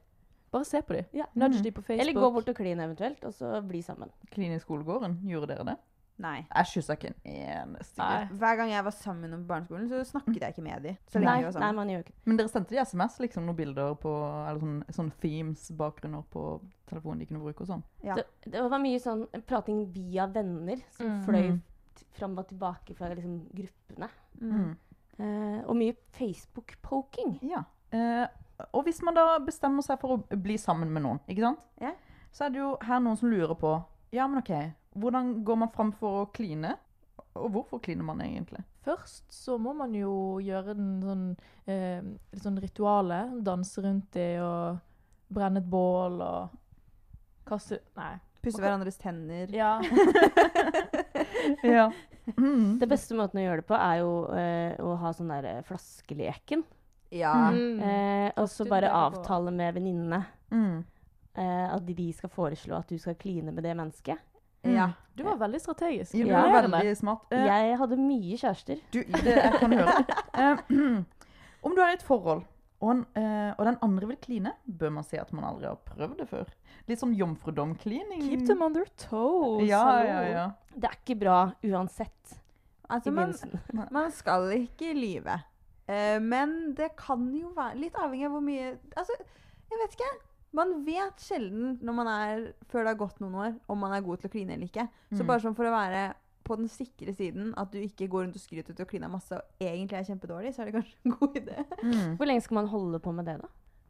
G: Bare se på dem.
F: Ja.
G: Nudge dem på Facebook.
F: Eller gå bort og kline eventuelt, og så bli sammen.
D: Kline i skolegården, gjorde dere det?
C: Nei.
D: Jeg kyssa ikke en eneste gutt.
C: Hver gang jeg var sammen med noen på barneskolen, så snakket jeg ikke med dem. Så lenge sånn.
F: Nei,
C: vi var
F: nei,
C: sammen.
F: man gjør ikke det.
D: Men dere sendte de SMS, liksom, noen bilder på Eller sånn, sånn themes-bakgrunner på telefonen de kunne bruke og sånn?
C: Ja.
F: det. Det var mye sånn prating via venner som
G: Mm.
F: fløy t- fram og tilbake fra liksom, gruppene.
C: Mm.
F: Eh, og mye Facebook-poking.
D: Ja. Eh, og hvis man da bestemmer seg for å bli sammen med noen, ikke sant?
C: Ja.
D: så er det jo her noen som lurer på Ja, men OK, hvordan går man fram for å kline? Og hvorfor kliner man egentlig?
G: Først så må man jo gjøre den sånn, eh, litt sånn ritualet. Danse rundt i og brenne et bål og kaste Nei.
C: Pusse hverandres tenner.
G: Ja.
D: Ja. Mm.
F: Den beste måten å gjøre det på er jo eh, å ha sånn der eh, flaskeleken.
C: Ja.
G: Mm.
F: Eh, og så
G: Ofte
F: bare
G: det er det på-
F: avtale med venninnene
D: Mm.
F: eh, at de skal foreslå at du skal kline med det mennesket.
C: ja.
G: Du var veldig strategisk.
D: Du
F: Ja.
D: er
G: Imponerende.
D: veldig smart. Eh,
F: Jeg hadde mye kjærester.
D: Du, det jeg kan høre. Eh, om du er i et forhold, og, en, eh, og den andre vil kline, bør man si at man aldri har prøvd det før. Litt sånn jomfrudomklining.
G: Keep them on their toes.
D: ja,
G: hallo.
D: ja, ja.
F: Det er ikke bra uansett i
C: Altså, man,
F: begynnelsen.
C: man skal ikke lyve. Eh, men det kan jo være Litt avhengig av hvor mye Altså, jeg vet ikke. Man vet sjelden når man er, før det har gått noen år, om man er god til å kline eller ikke. Så
D: Mm.
C: bare sånn for å være på den sikre siden, at du ikke går rundt og skryter til å kline masse og egentlig er kjempedårlig, så er det kanskje en god idé.
D: Mm.
F: Hvor lenge skal man holde på med det, da?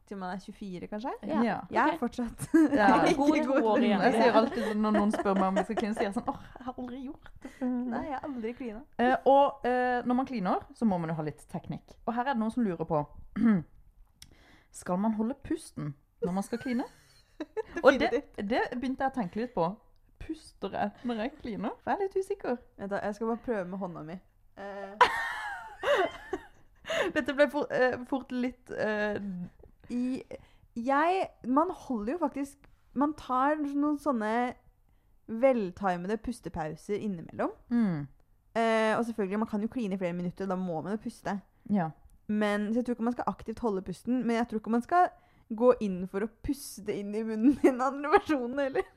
C: Til man er 24, kanskje.
F: Ja.
D: ja.
C: Jeg er
F: Ok.
C: fortsatt
D: Ja.
C: ikke
G: God
C: god
G: år
C: til å
G: igjen.
D: Jeg sier alltid sånn når noen spør meg om jeg skal kline, sier jeg sånn åh, jeg har aldri gjort det.
C: Nei, jeg har aldri klina.
D: Eh, og eh, når man kliner, så må man jo ha litt teknikk. Og her er det noen som lurer på Skal man holde pusten når man skal kline? og det, det begynte jeg å tenke litt på. Puster jeg når jeg kliner? For jeg er litt usikker.
C: Vent da, jeg skal bare prøve med hånda mi. Eh,
D: Dette ble for, eh, fort litt eh,
C: i, jeg Man holder jo faktisk Man tar noen sånne veltimede pustepauser innimellom.
D: Mm,
C: Eh, og selvfølgelig, man kan jo kline i flere minutter, og da må man jo puste.
D: Ja.
C: Men, så jeg tror ikke man skal aktivt holde pusten, men jeg tror ikke man skal gå inn for å puste inn i munnen til den andre personen heller.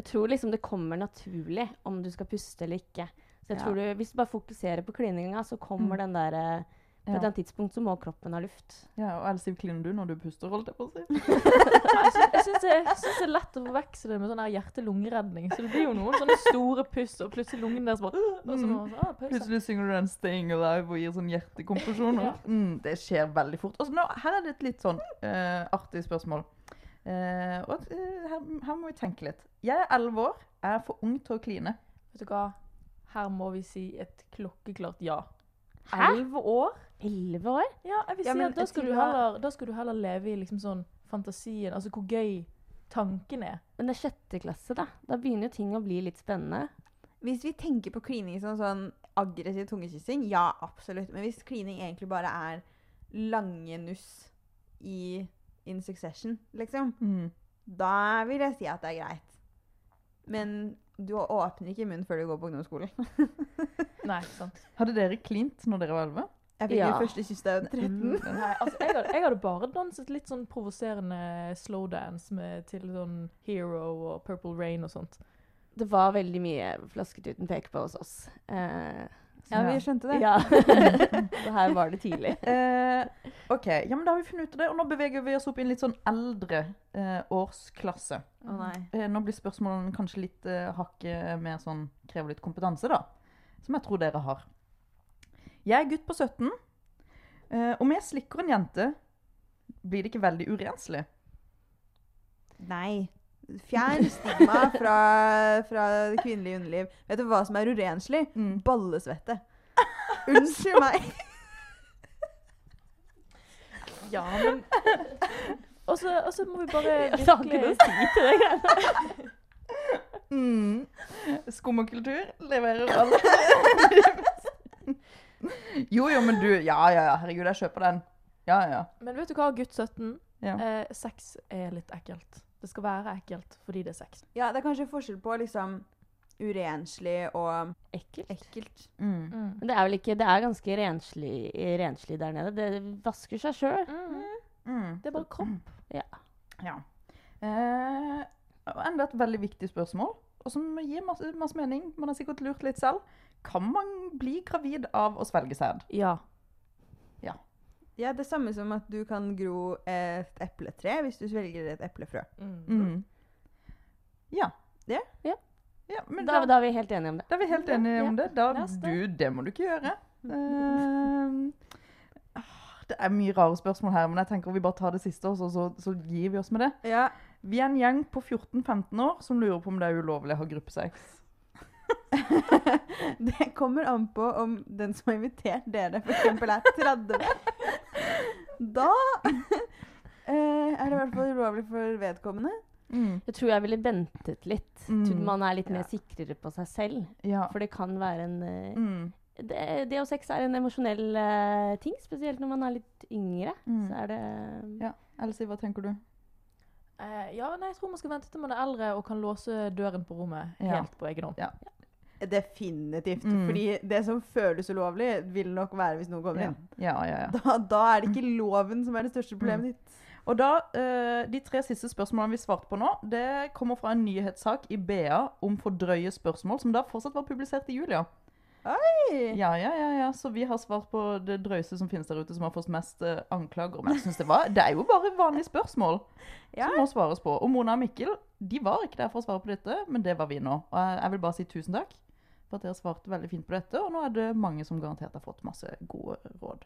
F: Jeg tror liksom det kommer naturlig om du skal puste eller ikke. Så jeg
D: Ja.
F: tror du, Hvis du bare fokuserer på klininga, så kommer den der eh, På et
D: Ja.
F: eller annet tidspunkt så må kroppen ha luft.
D: ja, og Elsiv, kliner du når du puster, holdt jeg på å si?
G: Jeg sy- Jeg syns det, jeg syns det er lett å forveksle det med sånn her hjerte-lungeredning. Så det blir jo noen sånne store puss, og plutselig lungen deres bare «Åh», og så
C: Mm.
G: må man sånn, «Åh, pause.
D: Plutselig synger du den 'Staying Alive' og gir sånn hjertekompresjoner.
G: Ja.
D: mm, det skjer veldig fort. Og så nå, her er det et litt sånn eh, artig spørsmål. Eh, og, eh, her, her må vi tenke litt. Jeg er elleve år. Jeg er for ung til å kline.
G: Vet du hva? Her må vi si et klokkeklart ja.
F: Hæ?
G: Elleve år?
F: Elleve år?
G: Ja, jeg vil si
C: Ja, men
G: at da
C: jeg
G: skal,
C: tror
G: du
C: det er-
G: heller, da skal du heller leve i liksom sånn fantasien, altså hvor gøy tanken er.
F: Men det er sjette klasse, da. Da begynner jo ting å bli litt spennende.
C: Hvis vi tenker på klining som sånn aggressiv tungekyssing, ja, absolutt. Men hvis klining egentlig bare er lange nuss i in succession, liksom,
D: Mm.
C: da vil jeg si at det er greit. Men du åpner ikke munnen før du går på ungdomsskolen.
G: Nei, sant.
D: Hadde dere klint når dere var elleve?
C: Jeg fikk
F: Ja.
C: min første kyss da jeg var 13.
G: Nei, altså, jeg, hadde, jeg hadde bare danset litt sånn provoserende slowdance med- til sånn Hero og Purple Rain og sånt.
F: Det var veldig mye flasket uten peke på hos oss. Eh,
C: Ja, vi skjønte det.
F: ja. Så her var det tidlig.
D: Eh, OK, ja, men da har vi funnet ut av det. Og nå beveger vi oss opp i en litt sånn eldre eh, årsklasse.
C: Å nei.
D: Eh, Nå blir spørsmålene kanskje litt eh, hakket mer sånn Krever litt kompetanse, da. Som jeg tror dere har. Jeg er gutt på 17. eh, om jeg slikker en jente, blir det ikke veldig urenslig?
C: Nei. Fjern stigma fra, fra det kvinnelige underliv. Vet du hva som er urenslig?
D: Mm.
C: Ballesvette. Unnskyld meg.
G: Ja, men Og så og så må vi bare
F: Jeg har ikke noe å si til det.
D: Mm. Skum og kultur leverer alt. jo, jo, men du Ja, ja, ja. Herregud, jeg kjøper den. Ja, ja.
G: Men vet du hva, gutt 17?
D: Ja.
G: Eh, sex er litt ekkelt. Det skal være ekkelt fordi det er sex.
C: Ja, det er kanskje forskjell på liksom urenslig og
F: Ekkelt.
C: ekkelt.
D: Mm.
F: Men det er vel ikke Det er ganske renslig, renslig der nede. Det vasker seg sjøl.
D: Mm.
G: Det er bare kropp.
D: Ja. Eh, og enda et veldig viktig spørsmål. og som gir masse, masse mening. Man har sikkert lurt litt selv. Kan man bli gravid av å svelge sæd?
G: Ja.
C: Ja, det samme som at du kan gro et epletre hvis du svelger et eplefrø.
D: Mm. Ja.
C: Ja.
F: Mm. Ja.
D: Ja, men
F: Da,
D: da,
F: da er vi helt enige om det.
D: da er vi helt enige om det. Da,
F: Neste.
D: du, det må du ikke gjøre.
F: Mm.
D: Eh, ah, det er mye rare spørsmål her, men jeg tenker vi bare tar det siste, og så, så, så gir vi oss med det.
C: Ja,
D: Vi er en gjeng på 14-15 år som lurer på om det er ulovlig å ha gruppesex.
C: Det kommer an på om den som har invitert dere, f.eks. er 30. Da eh, er det i hvert fall ulovlig for vedkommende.
F: Jeg tror jeg ville ventet litt.
D: Mm.
F: Tror man er litt
D: Ja.
F: mer sikrere på seg selv.
D: Ja.
F: For det kan være en eh,
D: Mm.
F: det, det og sex er en emosjonell eh, ting, spesielt når man er litt yngre.
D: Mm.
F: Så er det
D: Elsie, hva tenker du?
G: Eh, ja, nei, jeg tror man skal vente til man er eldre og kan låse døren på rommet
D: Ja.
G: helt på egen hånd.
C: Definitivt.
D: Mm.
C: Fordi det som føles ulovlig, vil nok være hvis noen kommer inn.
D: Ja, ja, ja.
C: Da, da er det ikke loven som er det største problemet
D: Mm.
C: ditt.
D: Og da, eh, De tre siste spørsmålene vi svarte på nå, det kommer fra en nyhetssak i BA om for drøye spørsmål, som da fortsatt var publisert i juli. ja.
C: Oi!
D: Ja, ja, ja, ja. Så vi har svart på det drøyeste som finnes der ute, som har fått mest eh, anklager. Men jeg synes det, var, det er jo bare vanlige spørsmål
C: Ja.
D: som må svares på. Og Mona og Mikkel de var ikke der for å svare på dette, men det var vi nå. Og jeg, jeg vil bare si tusen takk for at dere svarte veldig fint på dette. Og nå er det mange som garantert har fått masse gode råd.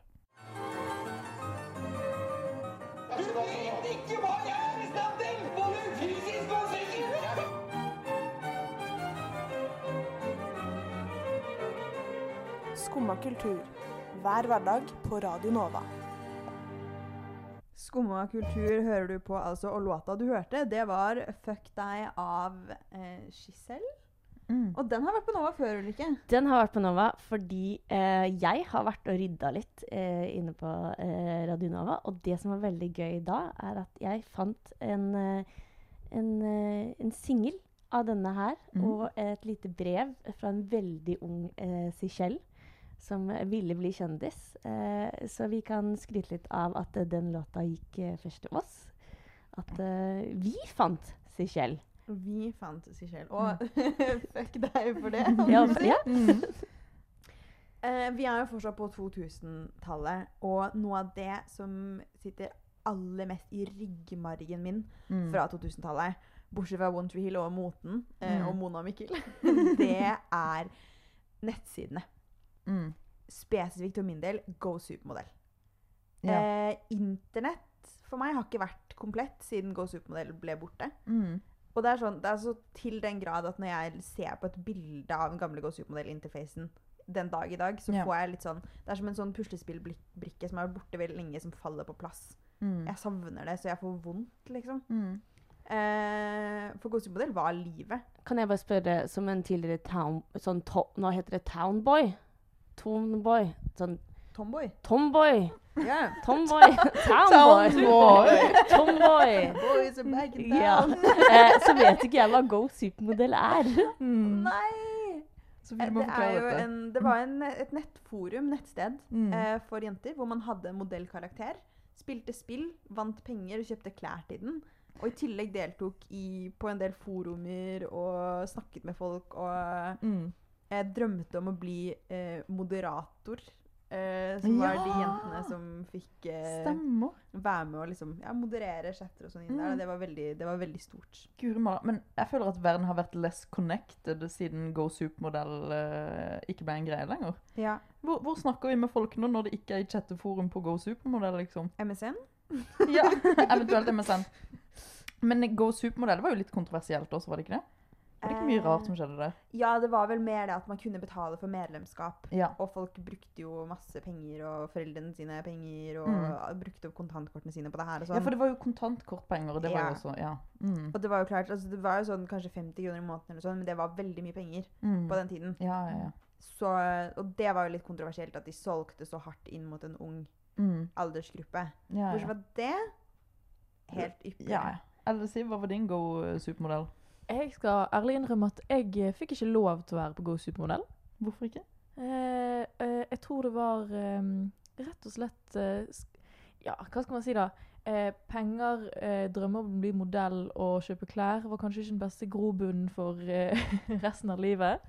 H: Skumma kultur. Hver hverdag på Radio Nova.
C: Skumma kultur hører du på, altså. Og låta du hørte, det var 'Fuck deg' av eh, Giselle.
D: Mm.
C: Og den har vært på Nova før, Ulrikke.
F: Den har vært på Nova fordi eh, jeg har vært og rydda litt eh, inne på eh, Radio Nova. Og det som var veldig gøy da, er at jeg fant en, eh, en, eh, en singel av denne her.
D: Mhm.
F: Og et lite brev fra en veldig ung eh, Sichelle som ville bli kjendis. Eh, så vi kan skryte litt av at eh, den låta gikk eh, først til oss. At eh, vi fant Sichelle.
C: Vi fant Sichelle. Og
D: Mm.
C: fuck deg for det.
F: Ja, ja.
C: Eh, vi er jo fortsatt på 2000-tallet, og noe av det som sitter aller mest i ryggmargen min
D: Mm.
C: fra 2000-tallet, bortsett fra One Tree Hill og moten, eh,
D: Mm.
C: og Mona og Mikkel, det er nettsidene.
D: Mm.
C: Spesifikt for min del Go Supermodell.
D: Ja.
C: Eh, internett for meg har ikke vært komplett siden Go Supermodell ble borte.
D: Mm.
C: Og det er, sånn, det er så til den grad at når jeg ser på et bilde av den gamle Go Supermodell-interfacen den dag i dag, så
D: Ja.
C: får jeg litt sånn Det er som en sånn puslespillbrikke som har vært borte veldig lenge, som faller på plass.
D: Mm.
C: Jeg savner det, så jeg får vondt, liksom.
D: Mm.
C: Eh, for Go Supermodell var livet.
F: Kan jeg bare spørre, som en tidligere town... Sånn to, nå heter det townboy. Townboy. Sånn
C: Tomboy.
F: tomboy.
C: Yeah.
F: Tomboy. Townboy.
D: Townboy.
F: Tomboy.
C: Boys are back in
F: Ja.
C: town.
F: Eh, så vet ikke jeg hva Go Supermodell er.
D: Mm.
C: Nei!
D: Så
C: Eh,
D: vi må
C: Det, er
D: forklare
C: jo
D: dette.
C: en, det var en, et nettforum, nettsted,
D: Mm.
C: eh, for jenter, hvor man hadde en modellkarakter. Spilte spill, vant penger og kjøpte klær til den. Og i tillegg deltok i, på en del forumer og snakket med folk. Og
D: Mm.
C: jeg drømte om å bli eh, moderator. Eh, som var de
D: Ja!
C: jentene som fikk eh,
D: Stemmer.
C: være med og liksom, ja, moderere chatter og sånn inn der.
D: Mm.
C: og Det var veldig, det var veldig stort.
D: Guri malla. Men jeg føler at verden har vært less connected siden Go Supermodell eh, ikke ble en greie lenger.
C: Ja.
D: Hvor, hvor snakker vi med folk nå når det ikke er i chatteforum på Go Supermodell, liksom?
C: MSN?
D: Ja, eventuelt MSN. Men Go Supermodell var jo litt kontroversielt også, var det ikke det? Var det ikke mye rart som skjedde der?
C: Ja, det var vel mer det at man kunne betale for medlemskap.
D: Ja.
C: Og folk brukte jo masse penger, og foreldrene sine penger, og brukte opp kontantkortene sine på det her og
D: Mm. Ja,
C: sånn.
D: for det var jo kontantkortpenger, og det var
C: Ja.
D: jo også Ja. Mm.
C: og det var jo klart, altså det var jo sånn kanskje 50 kroner i måneden eller sånn, men det var veldig mye penger
D: Mm.
C: på den tiden.
D: Ja, ja, ja.
C: Så, og det var jo litt kontroversielt at de solgte så hardt inn mot en ung
D: Mm.
C: aldersgruppe.
D: ja,
C: Bortsett
D: ja.
C: fra det, helt ypperlig.
D: ja, ja. Eller Siv, hva var din Go eh, Supermodell?
G: Jeg skal ærlig innrømme at jeg eh, fikk ikke lov til å være på Go Supermodell.
D: Hvorfor ikke?
G: Eh, ehm, eh, jeg tror det var eh, rett og slett eh, sk- Ja, hva skal man si da? eh, penger, eh, drømmer om å bli modell og kjøpe klær var kanskje ikke den beste grobunnen for eh, resten av livet.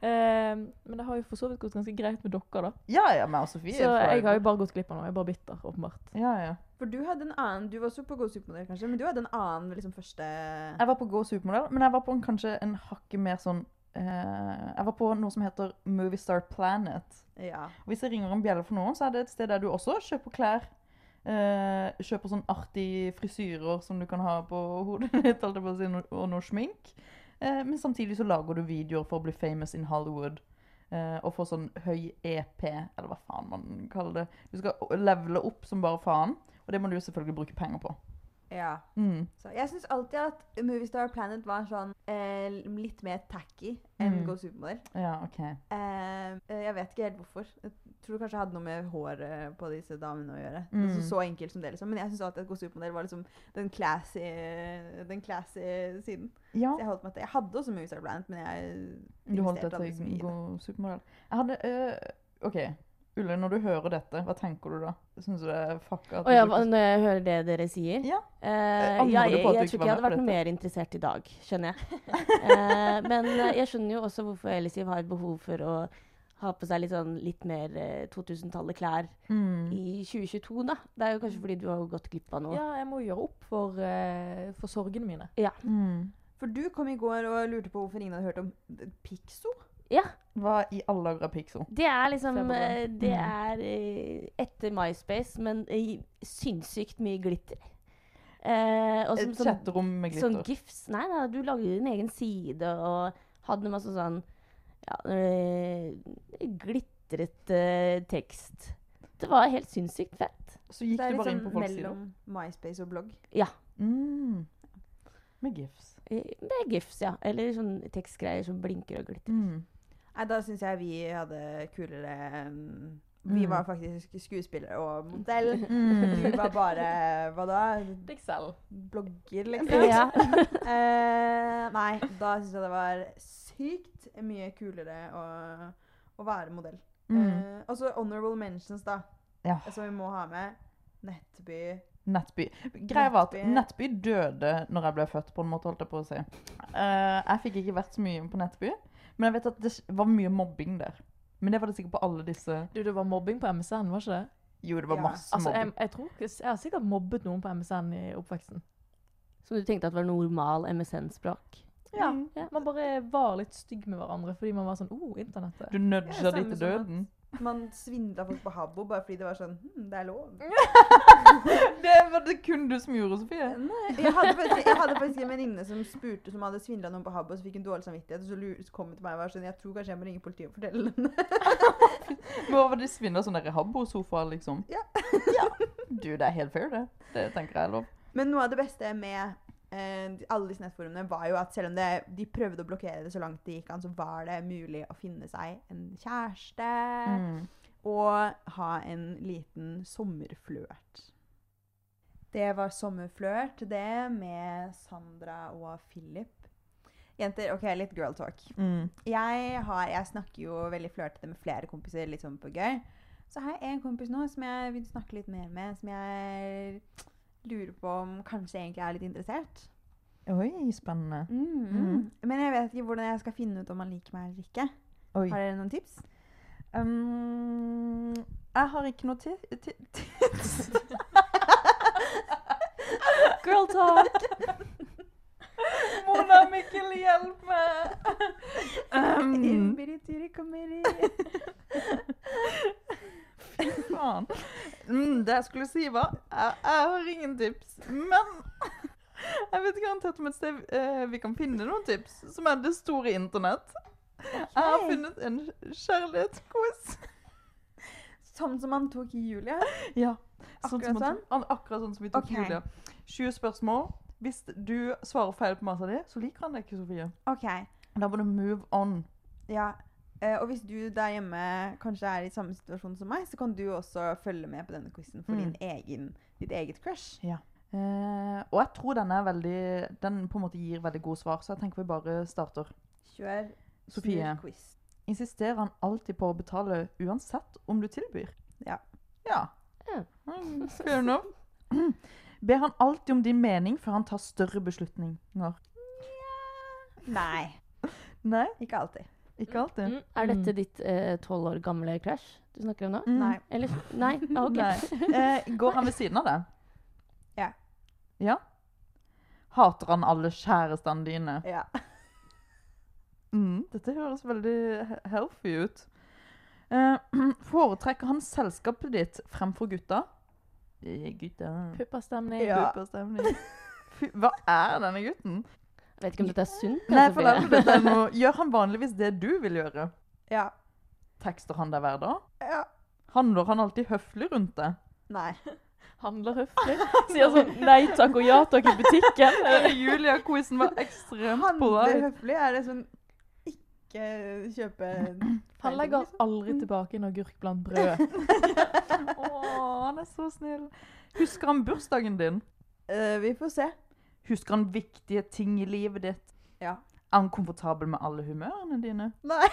G: Eh, men det har jo for så vidt gått ganske greit med dere, da.
D: Ja, ja, meg og Sofie.
G: Så jeg har jo bare gått glipp av noe. Jeg er bare bitter, åpenbart.
D: Ja, ja.
C: For du hadde en annen Du var også på God supermodell, kanskje, men du hadde en annen liksom, første
D: Jeg var på Gå supermodell, men jeg var på en, kanskje en hakke mer sånn eh, Jeg var på noe som heter Moviestar Planet.
C: Ja.
D: Og hvis jeg ringer en bjelle for noen, så er det et sted der du også kjøper klær. eh, kjøper sånn artige frisyrer som du kan ha på hodet ditt, holdt jeg på å si, no- og noe smink. Eh, men samtidig så lager du videoer for å bli famous in Hollywood. eh, og få sånn høy EP, eller hva faen man kaller det. Du skal o- levele opp som bare faen, og det må du selvfølgelig bruke penger på.
C: ja.
D: Mm.
C: Så jeg syns alltid at Moviestar Planet var sånn eh, litt mer tacky enn
D: Mm.
C: Go supermodell.
D: Ja, OK.
C: Eh, jeg vet ikke helt hvorfor. Jeg tror det kanskje hadde noe med håret eh, på disse damene å gjøre.
D: Mm.
C: Så, så enkelt som det, liksom. Men jeg syns alltid at Go supermodell var liksom den classy, eh, den classy siden.
D: Ja.
C: Så jeg holdt meg til Jeg hadde også Moviestar Planet, men jeg
D: Du holdt
C: investerte
D: deg
C: aldri så mye
D: til
C: i det.
D: god supermodell. Jeg hadde øh, OK. Ulle, når du hører dette, hva tenker du da? Syns du det er fucka? at
F: Å ja,
D: du
F: hva-
D: brukte-
F: når jeg hører det dere sier
D: Ja.
F: Eh,
D: Angrer
F: ja,
D: du
F: jeg,
D: på at du ikke var
F: jeg tror ikke jeg
D: med
F: hadde
D: på
F: vært noe
D: dette?
F: mer interessert i dag, skjønner jeg. Eh, men eh, jeg skjønner jo også hvorfor Ellisiv har et behov for å ha på seg litt, sånn, litt mer eh, 2000-tallet klær
D: Mm.
F: i 2022, da. Det er jo kanskje fordi du har gått glipp av noe.
G: Ja, jeg må gjøre opp for, eh, for sorgene mine.
D: Mm.
C: For du kom i går og lurte på hvorfor ingen hadde hørt om Pixo.
D: Hva i alle dager er Pixo?
F: Det er liksom
G: Februar.
F: eh, Det
D: Mm.
F: er eh, etter MySpace, men eh, sinnssykt mye glitter. Eh, og som,
D: Et
F: som
D: chatterom med
F: Sånn
D: glitter.
F: gifs? Nei, nei, du lagde din egen side og hadde masse sånn ja, øh, glitret øh, tekst. Det var helt sinnssykt fett.
D: Så gikk
C: Det er
D: du
C: litt
D: bare inn på
C: sånn
D: folks sider.
C: mellom MySpace og blogg.
D: Mm. Med gifs.
F: Eh, Med gifs, ja. Eller sånn tekstgreier som blinker og glitrer.
D: Mm.
C: Nei, da syns jeg vi hadde kulere um, Vi
D: Mm.
C: var faktisk skuespillere og modell.
D: Mm.
C: Du var bare hva da?
G: Deg selv.
C: Blogger, liksom?
F: Ja.
C: Eh, nei, da syns jeg det var sykt mye kulere å, å være modell.
D: Mm.
C: Eh, og så honorable mentions, da,
D: Ja.
C: som vi må ha med. Nettby.
D: Nettby. Greia var at
C: Nettby.
D: Nettby døde når jeg ble født, på en måte, holdt jeg på å si. Eh, jeg fikk ikke vært så mye på Nettby, men jeg vet at det var mye mobbing der. Men det var det sikkert på alle disse
G: Du, det var mobbing på MSN, var ikke det?
D: Jo, det var
C: Ja.
D: masse
G: Altså, jeg,
D: mobbing.
G: jeg, tror, ikke- jeg har sikkert mobbet noen på MSN i oppveksten.
F: Som du tenkte at var normal MSN-språk.
G: Ja.
C: Mm.
F: Ja.
G: Man bare var litt stygg med hverandre fordi man var sånn oh, internettet.
D: Du nudga
C: Ja,
D: de
C: samme
D: til
C: som sånn at-
D: døden.
C: Man svindla folk på Habbo bare fordi det var sånn hm, Det er lov.
D: Det var det kun du som gjorde, Sofie.
C: Jeg hadde faktisk, jeg hadde faktisk en venninne som spurte som hadde svindla noen på Habbo, og så fikk hun dårlig samvittighet. Og så lur- så kom hun til meg og var sånn Jeg tror kanskje jeg må ringe politiet og fortelle dem det.
D: Men hva var det svinner sånn der habbo-sofa, liksom?
C: Ja.
D: Du, det er helt fair, det. Det tenker jeg er lov.
C: Men noe av det beste med eh, de- alle disse nettforumene var jo at selv om det, de prøvde å blokkere det så langt det gikk an, så var det mulig å finne seg en kjæreste
D: Mm.
C: og ha en liten sommerflørt. Det var sommerflørt, det, med Sandra og Philip. Jenter, OK, litt girl talk.
D: Mm.
C: jeg, har, jeg snakker jo veldig flørtete med flere kompiser, litt sånn på gøy. Så har jeg en kompis nå som jeg vil snakke litt mer med, som jeg lurer på om kanskje egentlig er litt interessert. Mm.
D: Oi, spennende. Mhm.
C: Men jeg vet ikke hvordan jeg skal finne ut om han liker meg eller ikke.
D: Oi.
C: Har dere noen tips?
D: Um, jeg har ikke noe ti- ti- tips.
F: Girl talk!
D: Mona Mikkel, hjelp meg! Um,
C: Imbiriturik og miri.
D: faen. Mm, det jeg skulle si, var jeg, jeg har ingen tips. Men jeg vet garantert om et sted eh, vi kan finne noen tips, som er det store internett. Jeg har funnet en kjærlighetsquiz.
C: Sånn som han tok i Julia.
D: Ja.
C: Akkurat
D: som man-
C: sånn?
D: an- Akkurat sånn som vi tok
C: Ok.
D: Julia. 20 spørsmål. Hvis du svarer feil på masa di, så liker han deg ikke, Sofie.
C: Ok,
D: Da må du move on.
C: ja. Eh, og hvis du der hjemme kanskje er i samme situasjon som meg, så kan du også følge med på denne quizen for
D: Mm.
C: din egen, ditt eget crush.
D: Eh, og jeg tror den er veldig Den på en måte gir veldig gode svar, så jeg tenker vi bare starter.
C: Kjør
D: Sofie.
C: quiz.
D: Insisterer han alltid på å betale uansett om du tilbyr?
C: Ja.
D: Ja.
F: Ja.
D: Mm, Fair enough. Be han alltid om din mening før han tar større beslutninger.
C: Nei,
D: Nei,
C: ikke alltid.
D: ikke alltid.
F: Mm. Er dette ditt tolv år gamle crush du snakker om nå?
D: Mm.
C: Nei.
F: Eller Nei? Ah, ok.
D: Nei. Eh, går han ved siden av deg?
C: Ja.
D: Ja? Hater han alle kjærestene dine?
C: Ja.
D: Mm, dette høres veldig he- healthy ut. Eh, foretrekker han selskapet ditt fremfor gutta? Eh, Gutta
G: Pupperstemning.
C: Ja.
D: Superstemning. Fy, hva er denne gutten?
F: Vet ikke om dette er sunt. altså,
D: Nei,
F: kanskje,
D: for
F: Frida.
D: derfor, dette er noe. Gjør han vanligvis det du vil gjøre?
C: Ja.
D: Tekster han deg hver dag?
C: ja.
D: Handler han alltid høflig rundt deg?
C: Nei.
G: Handler høflig. Sier sånn nei takk og ja takk i butikken.
D: Julia-quizen var ekstremt
C: Handle
D: polar.
C: høflig er det sånn ikke kjøpe
G: Han legger aldri tilbake en agurk blant brød.
D: Å, han er så snill. Husker han bursdagen din?
C: Eh, Vi får se.
D: Husker han viktige ting i livet ditt?
C: Ja.
D: Er han komfortabel med alle humørene dine?
C: Nei.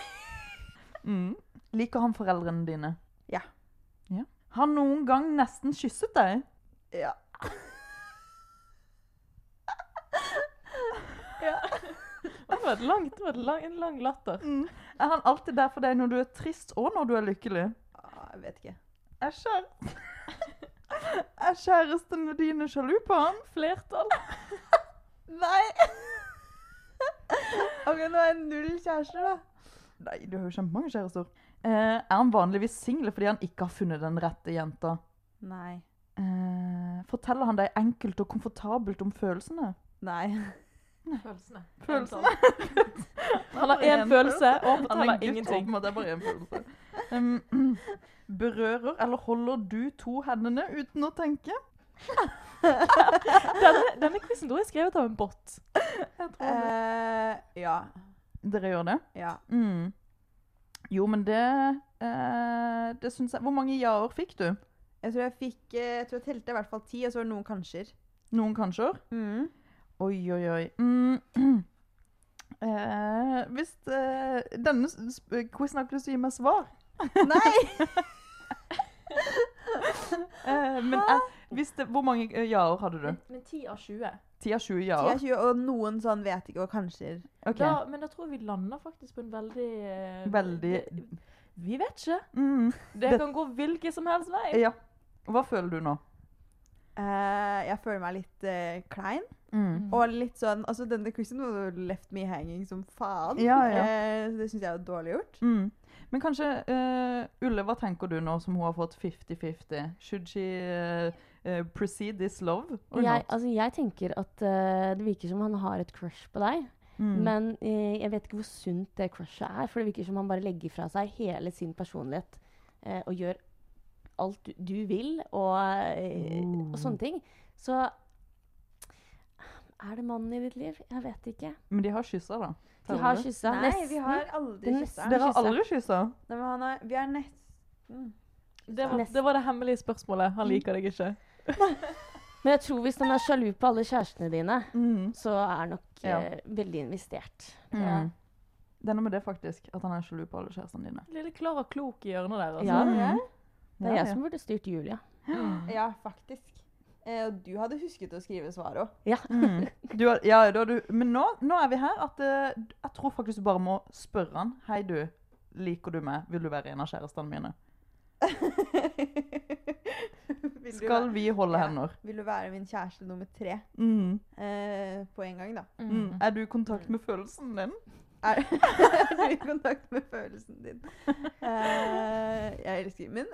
D: Mm. Liker han foreldrene dine?
C: Ja.
D: ja. Har han noen gang nesten kysset deg?
C: Ja.
G: Det var et langt, det var et lang, en lang latter.
D: Mm. Er han alltid der for deg når du er trist og når du er lykkelig?
C: Ah, Jeg vet ikke.
D: Er, kjære... er kjærestene dine sjalu på han?
G: Flertall.
C: Nei! OK, nå er jeg null kjærester, da.
D: Nei, du har jo kjempemange kjærester. Eh, er han vanligvis singel fordi han ikke har funnet den rette jenta?
C: Nei.
D: Eh, forteller han deg enkelt og komfortabelt om følelsene?
C: Nei.
E: Følelsene.
D: Følelsene?
G: Han har én følelse og
D: Han er
G: forteller
D: gutt,
G: ingenting.
D: åpenbart. Det er bare én følelse. Um, berører eller holder du to hendene uten å tenke?
G: Denne, denne quizen tror jeg er skrevet av en bot.
C: Eh, ja.
D: Dere gjør det?
C: Ja.
D: Mm. Jo, men det eh, Det syns jeg Hvor mange ja-er fikk du?
C: Jeg tror jeg fikk eh, Jeg tror jeg telte i hvert fall ti, og så var det noen kanskjer.
D: Noen kanskje?
C: Mm.
D: Oi, oi, oi. Mm. Eh, hvis eh, denne s- sp- quizen har ikke lyst til å gi meg svar
C: Nei!
D: eh, Men jeg, hvis det, Hvor mange eh, ja-er hadde du?
E: Men, men 10 av 20.
D: 10 av 20
C: De er
D: ja-er?
C: 20, og noen sånn vet ikke, og kanskjer.
D: Ok.
G: Da, men da tror jeg vi lander faktisk på en veldig eh,
D: Veldig-
G: Vi vet ikke.
D: Mm.
G: Det
D: Det-
G: kan gå hvilken som helst vei.
D: Ja. Hva føler du nå?
C: Eh, jeg føler meg litt eh, klein.
D: Mm.
C: Og litt sånn Altså, denne quizen var jo left me hanging som faen.
D: Ja, ja.
C: Eh, så det syns jeg er dårlig gjort.
D: Mm. Men kanskje eh, Ulle, hva tenker du nå som hun har fått 50-50? Should she eh, eh, proceed this love or
F: Jeg,
D: not?
F: altså, jeg tenker at eh, det virker som han har et crush på deg.
D: Mm.
F: Men eh, jeg vet ikke hvor sunt det crushet er. For det virker som han bare legger fra seg hele sin personlighet eh, og gjør alt du, du vil, og, eh, og sånne ting. Så er det mannen i ditt liv? Jeg vet ikke.
D: Men de har kyssa, da.
F: De
D: Teller
F: har
D: det?
F: kyssa.
C: Nei,
F: Nesten.
C: vi har aldri
F: Det er
C: kyssa.
F: nesten-
D: Dere har
F: kyssa.
D: aldri kyssa?
C: Nei, men han er, vi er nesten
G: Det var, det var det hemmelige spørsmålet. Han liker deg ikke.
F: Men jeg tror hvis han er sjalu på alle kjærestene dine,
D: Mm.
F: så er nok
D: Ja.
F: eh, veldig investert.
D: Ja. Det er noe med det, faktisk. At han er sjalu på alle kjærestene dine.
G: Lille Klara Klok i hjørnet der. Altså.
F: Ja,
D: Mm.
F: Det er
D: Ja,
F: jeg
D: ja.
F: som burde styrt Julia.
C: Ja, faktisk. Eh, og du hadde husket å skrive svaret òg.
D: Mm. Du, har- ja, da har du, men nå, nå er vi her at eh, jeg tror faktisk du bare må spørre han. Hei, du. Liker du meg? Vil du være en av kjærestene mine?
C: vil, du
D: Skal
C: være-
D: vi holde
C: Ja.
D: hender?
C: vil du være min kjæreste nummer tre
D: Mm.
C: eh, på en gang, da?
D: Mm. Er du i kontakt med følelsen din?
C: Er, er du i kontakt med følelsen din? Eh, jeg elsker Men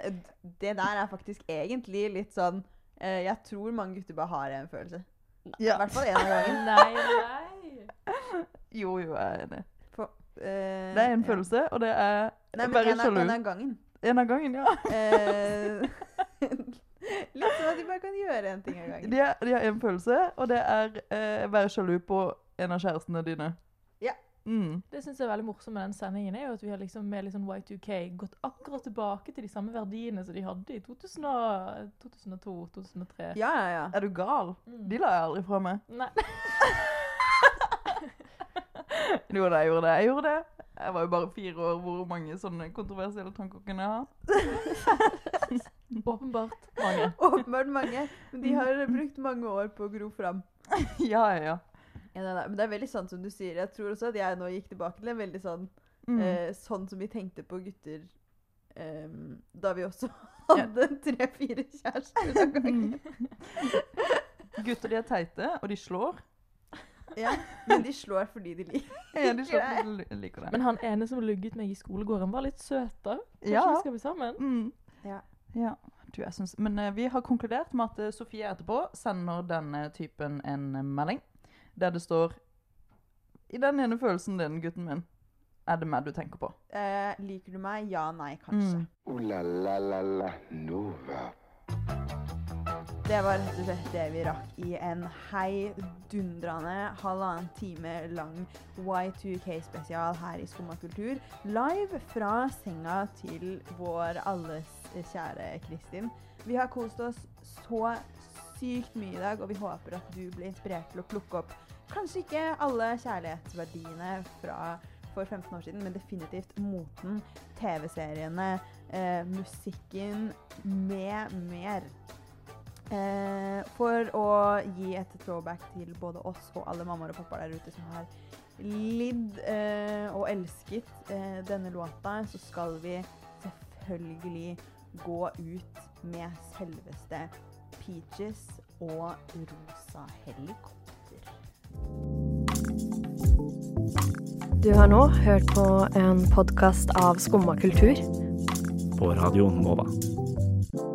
C: det der er faktisk egentlig litt sånn eh, Jeg tror mange gutter bare har en følelse. I hvert fall én av gangen.
G: Nei, nei.
D: Jo, jo, jeg er enig.
C: Eh,
D: Det er en
C: ja.
D: følelse, og det er
C: Nei, men
D: Være
C: en, av,
D: sjalu.
C: en av gangen.
D: en av gangen, ja.
C: Eh, litt sånn at de bare kan gjøre en ting av gangen.
D: De er- de har en følelse, og det er eh, være sjalu på en av kjærestene dine.
C: Ja.
D: Mm.
G: Det synes jeg er veldig morsomt med den sendingen, er jo at vi har liksom med liksom Y2K gått akkurat tilbake til de samme verdiene som de hadde i 2000 og- 2002, 2003.
C: Ja, ja, ja.
D: Er du gal? De la jeg aldri fra meg.
G: Nei.
D: Jo da, jeg gjorde det. Jeg gjorde det. Jeg var jo bare fire år. Hvor mange sånne kontroversielle tanker kunne jeg ha?
G: Åpenbart mange.
C: Åpenbart mange. Men de har brukt mange år på å gro fram.
D: Ja, ja, ja.
C: Ja, nei, nei, men det er veldig sant som du sier. Jeg tror også at jeg nå gikk tilbake til en veldig sånn
D: Mm.
C: eh, Sånn som vi tenkte på gutter eh, da vi også hadde tre-fire kjærester av
D: Mm.
C: gangen.
D: Gutter de er teite, og de slår.
C: Ja, men de slår fordi de liker
D: Ja, de
C: Liker
D: slår fordi de liker det.
G: Men han ene som lugget meg i skolegården, var litt søtere. Kanskje
D: Ja.
G: vi skal bli sammen?
D: Mm.
C: Ja.
D: Ja. Du, jeg syns- Men eh, vi har konkludert med at eh, Sofie etterpå sender denne typen en eh, melding der det står I den ene følelsen din, gutten min, er det meg du tenker på.
C: eh, Liker du meg? Ja, nei, kanskje.
D: Mm.
B: Ooh la la la la Nova.
C: Det var rett og slett det vi rakk i en heidundrende halvannen time lang Y2K-spesial her i Skumma kultur. Live fra senga til vår alles kjære Kristin. Vi har kost oss så sykt mye i dag, og vi håper at du ble inspirert til å plukke opp kanskje ikke alle kjærlighetsverdiene fra for 15 år siden, men definitivt moten, TV-seriene, eh, musikken, med mer. Eh, for å gi et throwback til både oss og alle mammaer og pappaer der ute som har lidd eh, og elsket eh, denne låta, så skal vi selvfølgelig gå ut med selveste Peaches og Rosa helikopter.
I: Du har nå hørt på en podkast av Skumma kultur.
J: på Radio Nova.